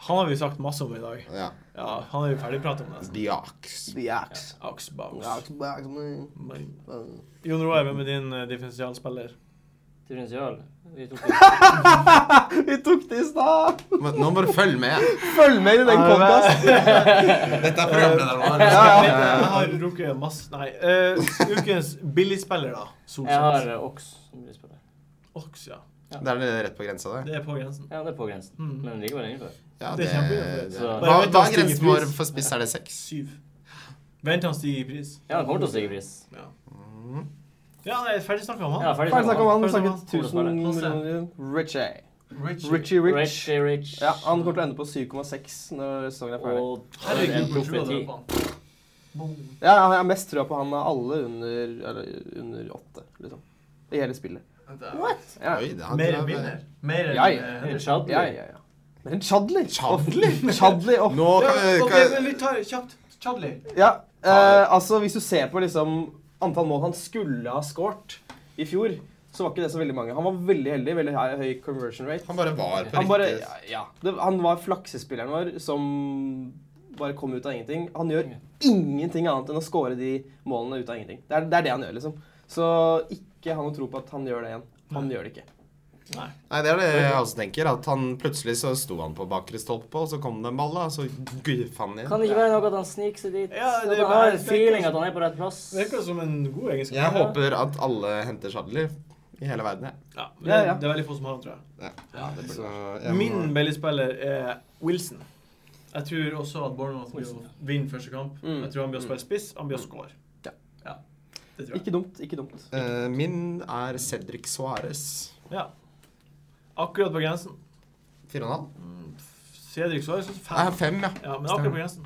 A: Han har vi sagt masse om i dag.
D: Ja.
A: Ja, han er jo ferdigpratet om nesten.
D: Diaks.
B: The axe.
A: Axbows.
B: Axe, axe, man.
A: Men-
B: Uh,
A: Jon Roar, hvem er din eh, differensialspiller?
C: Differensial. Vi tok jo
B: Vi tok det i stad!
D: Men nå må du følge med.
B: Følg med i den podkasten.
D: Dette er programlederen vår.
A: Jeg
B: Ja,
A: har rukket masse Nei. eh, ukens billigspiller, da.
C: Jeg har
A: Solskjær.
C: eh, Ox som billigspiller.
A: Oks, ja.
D: Det er det rett på grensa der.
A: Det er på grensen.
C: Ja, det er på grensen,
A: Mm.
C: men likevel innenfor.
D: Ja,
A: Det
D: det,
A: er kjempegøy.
D: det.
C: Så-
D: Hva,
A: Bare vent
D: hva
A: til
D: er
A: han
D: grensen
A: stiger
D: vår
A: pris.
D: for spiss? Er det seks?
A: Syv. Vent til han stiger i pris.
C: Ja, det kommer til å stige pris.
A: Ja. Ja, nei, ferdig snakka om
C: Ja,
A: han.
C: ferdig
B: Ferdig snakka om han.
A: Ferdig snakka om
B: Snakket 1000
C: han.
B: millioner. Richie.
A: Richie.
B: Richie Rich.
C: Richie Rich.
B: Ja, han kommer til å ende på 7,6 når sesongen er ferdig.
C: Og
A: Herregud,
C: en
A: hvor trua
C: profeti.
A: du på han? Boom.
B: Ja, jeg har mest trua på han av alle under, eller, under 8, liksom. I hele spillet.
A: What?
B: Ja,
D: Oi, det hadde
A: Mer enn
D: vært-
A: Milner? Mer enn
B: Ja, ja.
A: eh,
C: En
A: Henderson?
C: Chadli.
B: ja, ja. ja. Men Chadley
D: Chadli?
B: Chadley opp.
D: Nå kan vi
A: Ja, ok, men
D: kan,
A: vi tar det kjapt. Chadli.
B: Ja, eh, altså hvis du ser på liksom antall mål han skulle ha skåret i fjor, så var ikke det så veldig mange. Han var veldig heldig, veldig høy, høy conversion rate.
D: Han bare var på
B: Han bare,
D: riktig
B: ja, ja. Det, han var flaksespilleren vår som bare kom ut av ingenting. Han gjør ingenting annet enn å skåre de målene ut av ingenting. Det er, det er det han gjør, liksom. Så ikke ha noe tro på at han gjør det igjen. Han gjør det ikke.
A: Nei.
D: Nei, det er det jeg også tenker. At han plutselig så sto han på bakre stolpe, og så kom det en ball, da. Så guffa han inn.
C: Kan det ikke være noe at han sniker seg dit?
A: Ja,
C: at
A: det-
C: han har
A: det-
C: en feeling at han er på rett plass?
A: Virker som en god egenskap.
D: Jeg håper at alle henter Shadley i hele verden, jeg.
A: Ja,
B: Ja, ja.
A: Det er veldig få som har han, tror jeg.
D: Ja, det burde
A: Min billigspiller er Wilson. Jeg tror også at Bournemouth blir å vinne første kamp.
B: Mm.
A: Jeg tror han blir å spille spiss. Han blir å score.
B: Ja.
A: ja. Det tror jeg.
B: Ikke dumt, ikke dumt.
D: Eh, Min er Cedric Suárez.
A: Ja. Akkurat på grensen.
D: 4,5?
A: Cedric Suárez fem.
D: Nei, fem, ja.
A: Ja, men akkurat på grensen.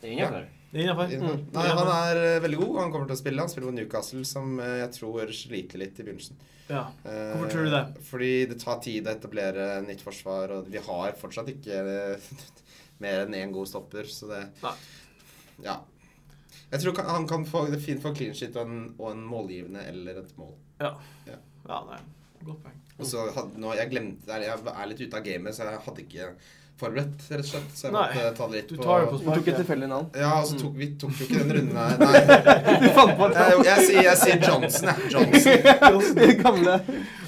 C: Det er innenfor.
A: Det er Mm. innafor.
D: Innenfor. Nei, han er eh, veldig god. Han kommer til å spille. Han spiller på Newcastle, som eh, jeg tror sliter litt i begynnelsen.
A: Ja.
D: Eh,
A: Hvorfor tror du det?
D: Fordi det tar tid å etablere nytt forsvar, og vi har fortsatt ikke eh, mer enn én god stopper, så det
A: Nei.
D: Ja. Jeg tror kan- han kan få, det er fint få clean shit og en, og en målgivende eller et mål.
A: Ja, nei. Godt poeng.
D: Og så hadde, nå, jeg glemte det, jeg er litt ute av gamet, så jeg hadde ikke forberedt, rett og slett. Så jeg
A: Nei,
D: måtte ta det litt
A: Du tar det på
B: Du tok et
A: sparket.
B: tilfeldig navn.
D: Ja, og så tok vi tok jo ikke den runden her. Nei,
B: Du fant på et
D: jeg, jeg, sier, jeg sier Johnson, jeg. Johnson.
B: navn. Gamle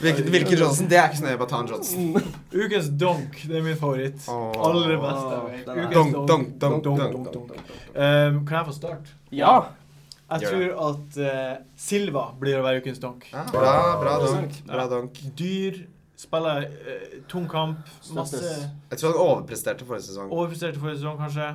D: Hvilken, hvilken Johnson? Det er ikke så nøye, bare ta en Johnson.
A: Mm, Ukens donk. Det er min favoritt.
D: Åh.
A: Aller beste. jeg vet.
B: Den er-
A: Ukens
D: Donk, donk, donk,
A: donk,
D: donk.
A: donk, donk. Ehm, kan jeg få start?
B: Ja!
A: Jeg
D: Gjør
A: tror at eh, Silva blir å være ukens donk.
D: Ja, bra, bra donk. Bra donk.
A: Dyr, spiller eh, tung kamp, masse
C: Støttes.
D: Jeg tror han overpresterte forrige sesong.
A: overpresterte forrige sesong, kanskje.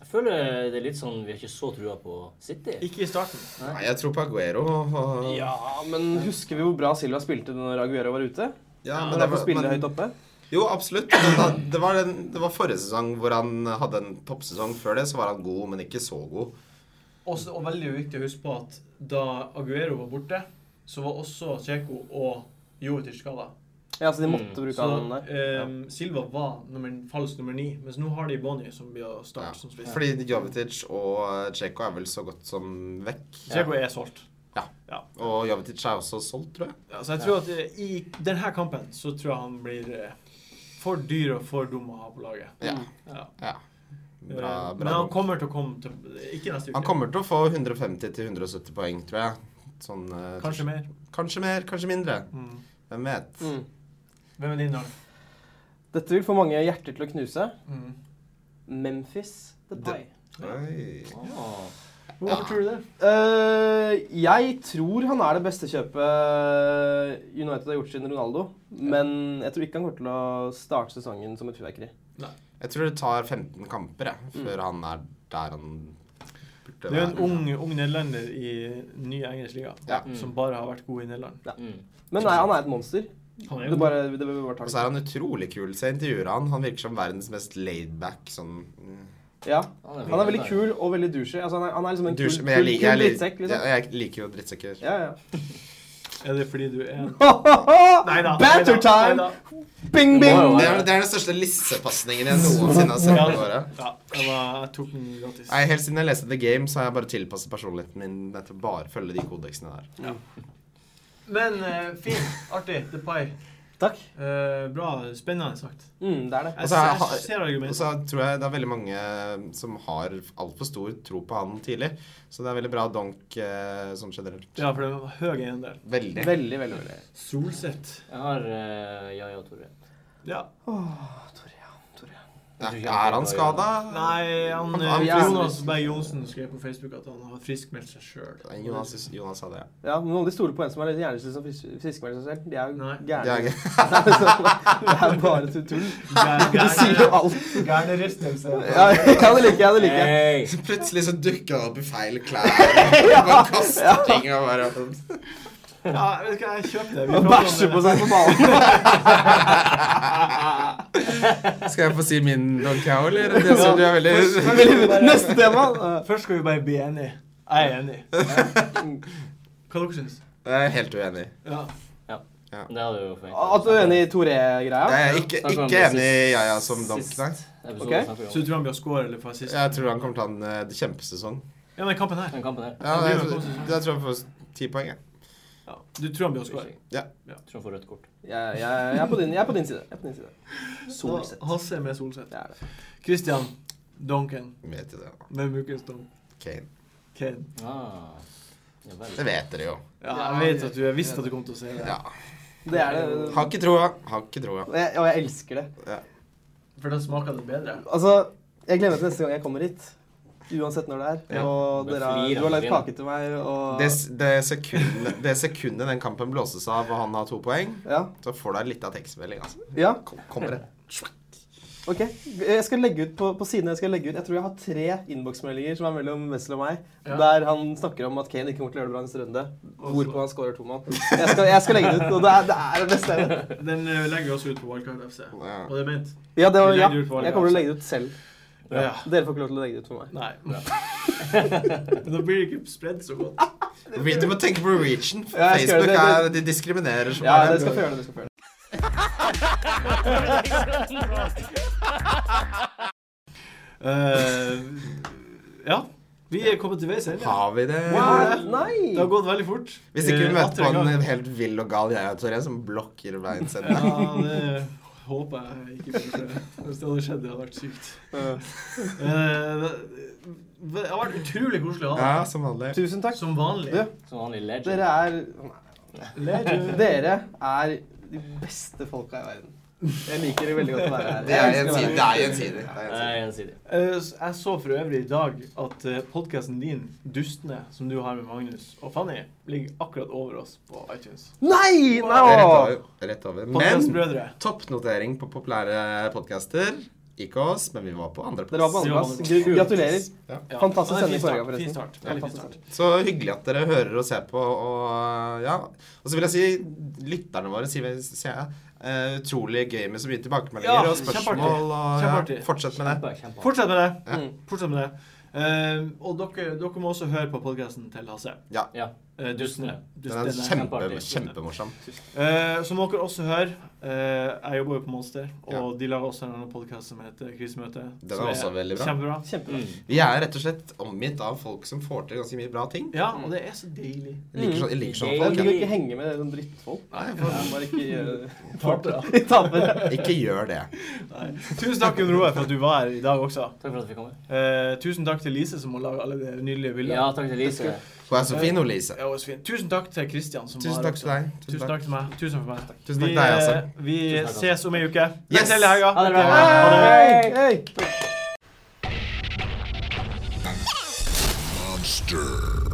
C: Jeg føler det er litt sånn vi har ikke så trua på City.
A: Ikke i starten.
D: Nei, jeg tror på Aguero. Og, ja,
B: Ja, men husker vi hvor bra Silva spilte når Aguero var ute?
D: men
B: Når
D: det
B: han får
D: var,
B: spille
D: men,
B: høyt oppe?
D: jo, absolutt. Men da, det, var den, det var forrige sesong hvor han hadde en toppsesong. Før det så var han god, men ikke så god.
A: Også, og veldig viktig å huske på at da Aguero var borte, så var også Cheko og Jovetic skada.
B: Ja, så de
C: Mm,
B: måtte bruke
A: Så
B: han der.
A: ehm, Silva var nummer, falsk nummer ni, mens nå har de Bonnie som blir å starte
D: Ja.
A: som spiss.
D: Fordi Jovetic og Cheko er vel så godt som vekk.
A: Cheko er solgt.
D: Og Jovetic er også solgt, tror jeg.
A: Ja, så jeg tror at eh, i denne kampen så tror jeg han blir eh, for dyr og for dum å ha på laget.
D: Ja.
A: Ja.
D: ja. Bra,
A: Eh, Men
D: bra.
A: han
D: donk.
A: kommer til å komme til Ikke neste uke.
D: Han kommer til å få 150-170 poeng, tror jeg. Sånn, eh,
A: Kanskje mer.
D: kanskje mer, kanskje mindre.
A: Mm.
D: Hvem vet.
B: Mm.
A: Hvem er din dag?
B: Dette vil få mange hjerter til å knuse.
A: Mm.
B: Memphis The Pie.
D: Oi.
C: Ah.
A: Hvorfor tror du det?
B: Eh, jeg tror han er det beste kjøpet United har gjort siden Ronaldo. Men jeg tror ikke han kommer til å starte sesongen som et fyrverkeri.
D: Jeg tror det tar 15 kamper jeg, før han er der han burde
A: Det er jo en ung, ung nederlender i nye engelsk liga
D: Ja.
A: som bare har vært god i Nederland.
C: Mm.
B: Men nei, han er et monster.
A: Han er
B: Det
A: jo
B: bare, det vil bare
D: Og
B: ta
D: så er han utrolig kul. Så jeg intervjuer han. Han virker som verdens mest laidback sånn mm,
B: Ja.
C: Han
B: Han er veldig kul og veldig douchey. Altså, han, er, han er liksom en kul,
D: douche. Men jeg
B: kul,
D: liker,
B: kul
D: jeg,
B: drittsekk,
D: liker,
B: liksom.
D: jeg, jeg liker jo drittsekker.
B: Ja, ja.
A: Er det fordi du er en Neida,
B: Banter
A: neida,
B: time!
A: neida.
B: Bing,
C: Det må
B: bing!
C: jo
D: Det er, det er den største lissepasningen jeg noensinne har sett. i året.
A: Ja, jeg, var, jeg tok den gratis.
D: Nei, Helt siden jeg leste The Game, så har jeg bare tilpasset personligheten min til å bare følge de kodeksene der.
A: Men eh, fint. Artig. The Pie.
B: Takk.
A: Eh, bra. Spennende sagt.
B: Mm, det er det.
A: Jeg,
D: Altså, jeg
A: jeg,
D: har-
A: ser
D: Og
A: argumentet.
D: så tror jeg det er veldig mange som har altfor stor tro på han tidlig. Så det er veldig bra donk eh, sånn generelt.
A: Ja, for det var høy eiendel.
D: Veldig.
B: Veldig, veldig, veldig.
A: Solseth.
C: Jeg har uh, Jaja og Tore.
A: Ja.
B: Åh, Torjan, Torjan.
D: Ja, er han skada?
A: Nei, han,
D: Han-
A: eh,
D: han-
A: Jonas Berg Johnsen skrev på Facebook at han har friskmeldt seg sjøl.
D: Jonas, Jonas sa det, ja.
B: Ja, men om de stoler på en som er litt hjerneslig som fris- friskmelder seg selv, de er jo
A: Nei.
D: Det er
B: gærne.
D: gøy.
B: det er bare tull. tull. Du sier jo alt.
A: Gærne ristelse.
B: Ja, ja, det liker jeg, det liker jeg.
C: Hey.
D: Plutselig så dukker han opp i feil klær. Og bare kaster ting og bare
A: Ja, vet du hva, jeg kjøpte det. Vi
B: Å
A: pratet om
B: bæsje
A: det.
B: på sånn- seg på ballen.
D: Skal jeg få si min donk, jeg òg, eller? Det som du er veldig
B: Neste tema. Eh,
A: Først skal vi bare bli enige. Jeg er enig. Hva dere syns
D: Jeg er helt uenig.
A: ja.
C: Det hadde du jo forventet.
B: At du er Altså, enig i
D: Jeg
B: Tore-greia?
D: er sånn ikke,
C: Snakket om
D: ikke
C: det
D: enig i
C: sist-
D: Jaja som donk,
C: sist
D: nei.
C: episode
B: Ok.
C: snakket vi
A: Så
C: om.
A: du tror han blir å score eller fascist?
D: Jeg tror han kommer til å ha en eh, kjempesesong.
A: Ja, men kampen her
C: Den kampen der.
D: Ja,
A: Han
D: jeg,
A: blir jo
D: tror-
A: god.
D: jeg tror han får ti poeng, jeg.
A: ja. Du tror han blir å score?
D: Ja.
C: Jeg tror han får rødt kort.
B: Jeg, jeg, jeg, er på din, jeg er på din side. Jeg er på din side.
A: Solseth. Hasse med Solseth.
B: Det er det.
A: Christian Duncan
D: Vet jo det. da.
A: med Mukkestone.
D: Kane.
A: Kane.
C: Ah. Ja, vel.
D: Det vet dere jo.
A: Ja, jeg vet at du jeg visste at du kom til å si det.
D: Ja.
B: Det er det.
D: Har ikke troa. Har ikke troa.
B: Og jeg, og jeg elsker det.
A: For da smaker det bedre.
B: Altså, jeg gleder meg til neste gang jeg kommer hit. Uansett når det er.
D: Ja.
B: Og
C: Det
B: dere har,
C: flirer
B: du har lagd
C: han
B: kake til meg, og
D: Det, s- det, sekundet, det sekundet den kampen blåses av og han har to poeng,
B: Ja.
D: så får du ei lita tekstmelding. Altså.
B: ja.
D: Kom- Kommer det.
B: Ok, jeg skal legge ut på, på siden jeg skal legge ut Jeg tror jeg har tre innboksmeldinger som er mellom Wessel og meg,
A: Ja.
B: der han snakker om at Kane ikke kommer til å gjøre det bra neste runde.
A: Og så-
B: Hvorpå han scorer to mål. Jeg skal, jeg skal legge det ut, og det er det, er det beste jeg vet.
A: Den eh, legger vi også ut på Wildcard FC.
D: Ja.
A: Og det er ment.
B: Ja, det var,
A: Vi
B: ja.
A: legger det ut altså. for alle,
B: Jeg kommer til å legge det ut selv.
A: Ja.
B: Dere får ikke lov til å legge det ut for meg.
A: Nei. da blir det ikke spredd så godt.
D: Re- Du må tenke på Norwegian.
B: Ja, jeg skal
D: Facebook
B: gjøre
D: er, de diskriminerer. som
B: Ja,
D: er
B: dere
D: det.
B: skal få gjøre det. Dere skal få gjøre det.
A: Eh, ja. Vi er kommet til veis ende.
D: Har vi det?
A: Wow. Det har
B: Nei!
A: gått veldig fort.
D: Hvis
A: Eh,
D: ikke vi møter
A: atter
D: på
A: gang.
D: en helt vill og gal jeg og Toré som blokker veien sin.
A: Ja, det håper jeg ikke blir skjedd. Hvis det hadde skjedd, det hadde vært sykt.
B: Øh,
A: Eh, det det har vært utrolig koselig å ha
D: Ja, som vanlig.
B: Tusen
A: deg
B: takk.
A: som vanlig.
B: Du,
C: Som vanlig legend.
B: dere er
A: Legend.
B: Dere er de beste folka i verden. Jeg liker det veldig godt å være her.
D: Det er
B: Jeg elsker å være
D: gjensidig.
B: her.
D: Det er gjensidig. Det er
C: Det
D: gjensidig.
C: er gjensidig.
A: Eh, s- Jeg så for øvrig i dag at podkasten din, Dustene, som du har med Magnus og Fanny, ligger akkurat over oss på iTunes.
B: Nei!
D: Det er Rett
B: Nei!
D: over. Rett over. Men
A: Podkastbrødre.
D: toppnotering på populære podcaster. Ikke oss, men vi var på
B: Dere var
D: andreplass.
B: på
A: Ja,
B: andreplass.
A: men-
B: Gr- Gratulerer.
A: Ja.
B: Fantastisk
A: Ja, det er fin
B: sending forrige
A: start,
B: gang, forresten.
A: Fin start. Veldig fin
B: fantastisk.
A: start.
D: Så hyggelig at dere hører og ser på. Og, eh, ja. og så vil jeg si lytterne våre sier, sier jeg, eh, utrolig gøy med så mye tilbakemeldinger
A: Ja,
D: og spørsmål. Og, ja,
A: Kjempeartig.
D: fortsett med det.
C: Kjempe, kjempe.
A: Fortsett med det.
D: Ja.
B: Mm.
A: Fortsett med det. Eh, og dere, dere må også høre på podkasten til Hasse.
C: Ja.
A: Eh, Dustene.
C: Dustene.
D: Den er
A: Dustene.
D: kjempe,
C: Kjempeartig.
D: kjempemorsom.
A: Eh, som dere også hører, eh, jeg jobber jo på Monster, og
D: Ja.
A: de lager også en annen podkast som heter Krisemøte.
D: Den er også veldig bra.
A: Kjempebra.
B: Kjempebra.
C: Mm.
D: Vi er rett og slett omgitt av folk som får til ganske mye bra ting.
A: Ja, og det er så deilig.
D: Jeg liker, så, jeg liker sånne
B: Jeg
D: folk.
B: liker
D: Ja.
B: å ikke henge med sånn drittfolk.
D: Nei,
B: Jeg
D: for,
B: må Bare ikke eh, gjøre-
A: Tapere.
B: Tapere.
D: ikke gjør det.
A: Nei. Tusen takk, Jon Roar, for at du var her i dag også.
C: Takk for at vi fikk komme.
A: Eh, tusen takk til Lise, som har laget alle de nydelige bildene.
C: Ja, takk til Lise.
D: Hun er så fin, hun Lise.
A: Det var så fint. Tusen takk til Kristian. som
D: Tusen
A: var
D: takk
A: også.
D: til deg.
A: Tusen takk til meg. Tusen for meg.
D: Tusen takk til deg, Hasse.
A: eh, Vi
C: Tusen takk, Hasse.
A: ses om ei uke.
D: altså. Yes!
A: Yes! Hele helga.
C: Ha det bra.
A: Ha det bra.
B: Hei! Hei!
E: Monster.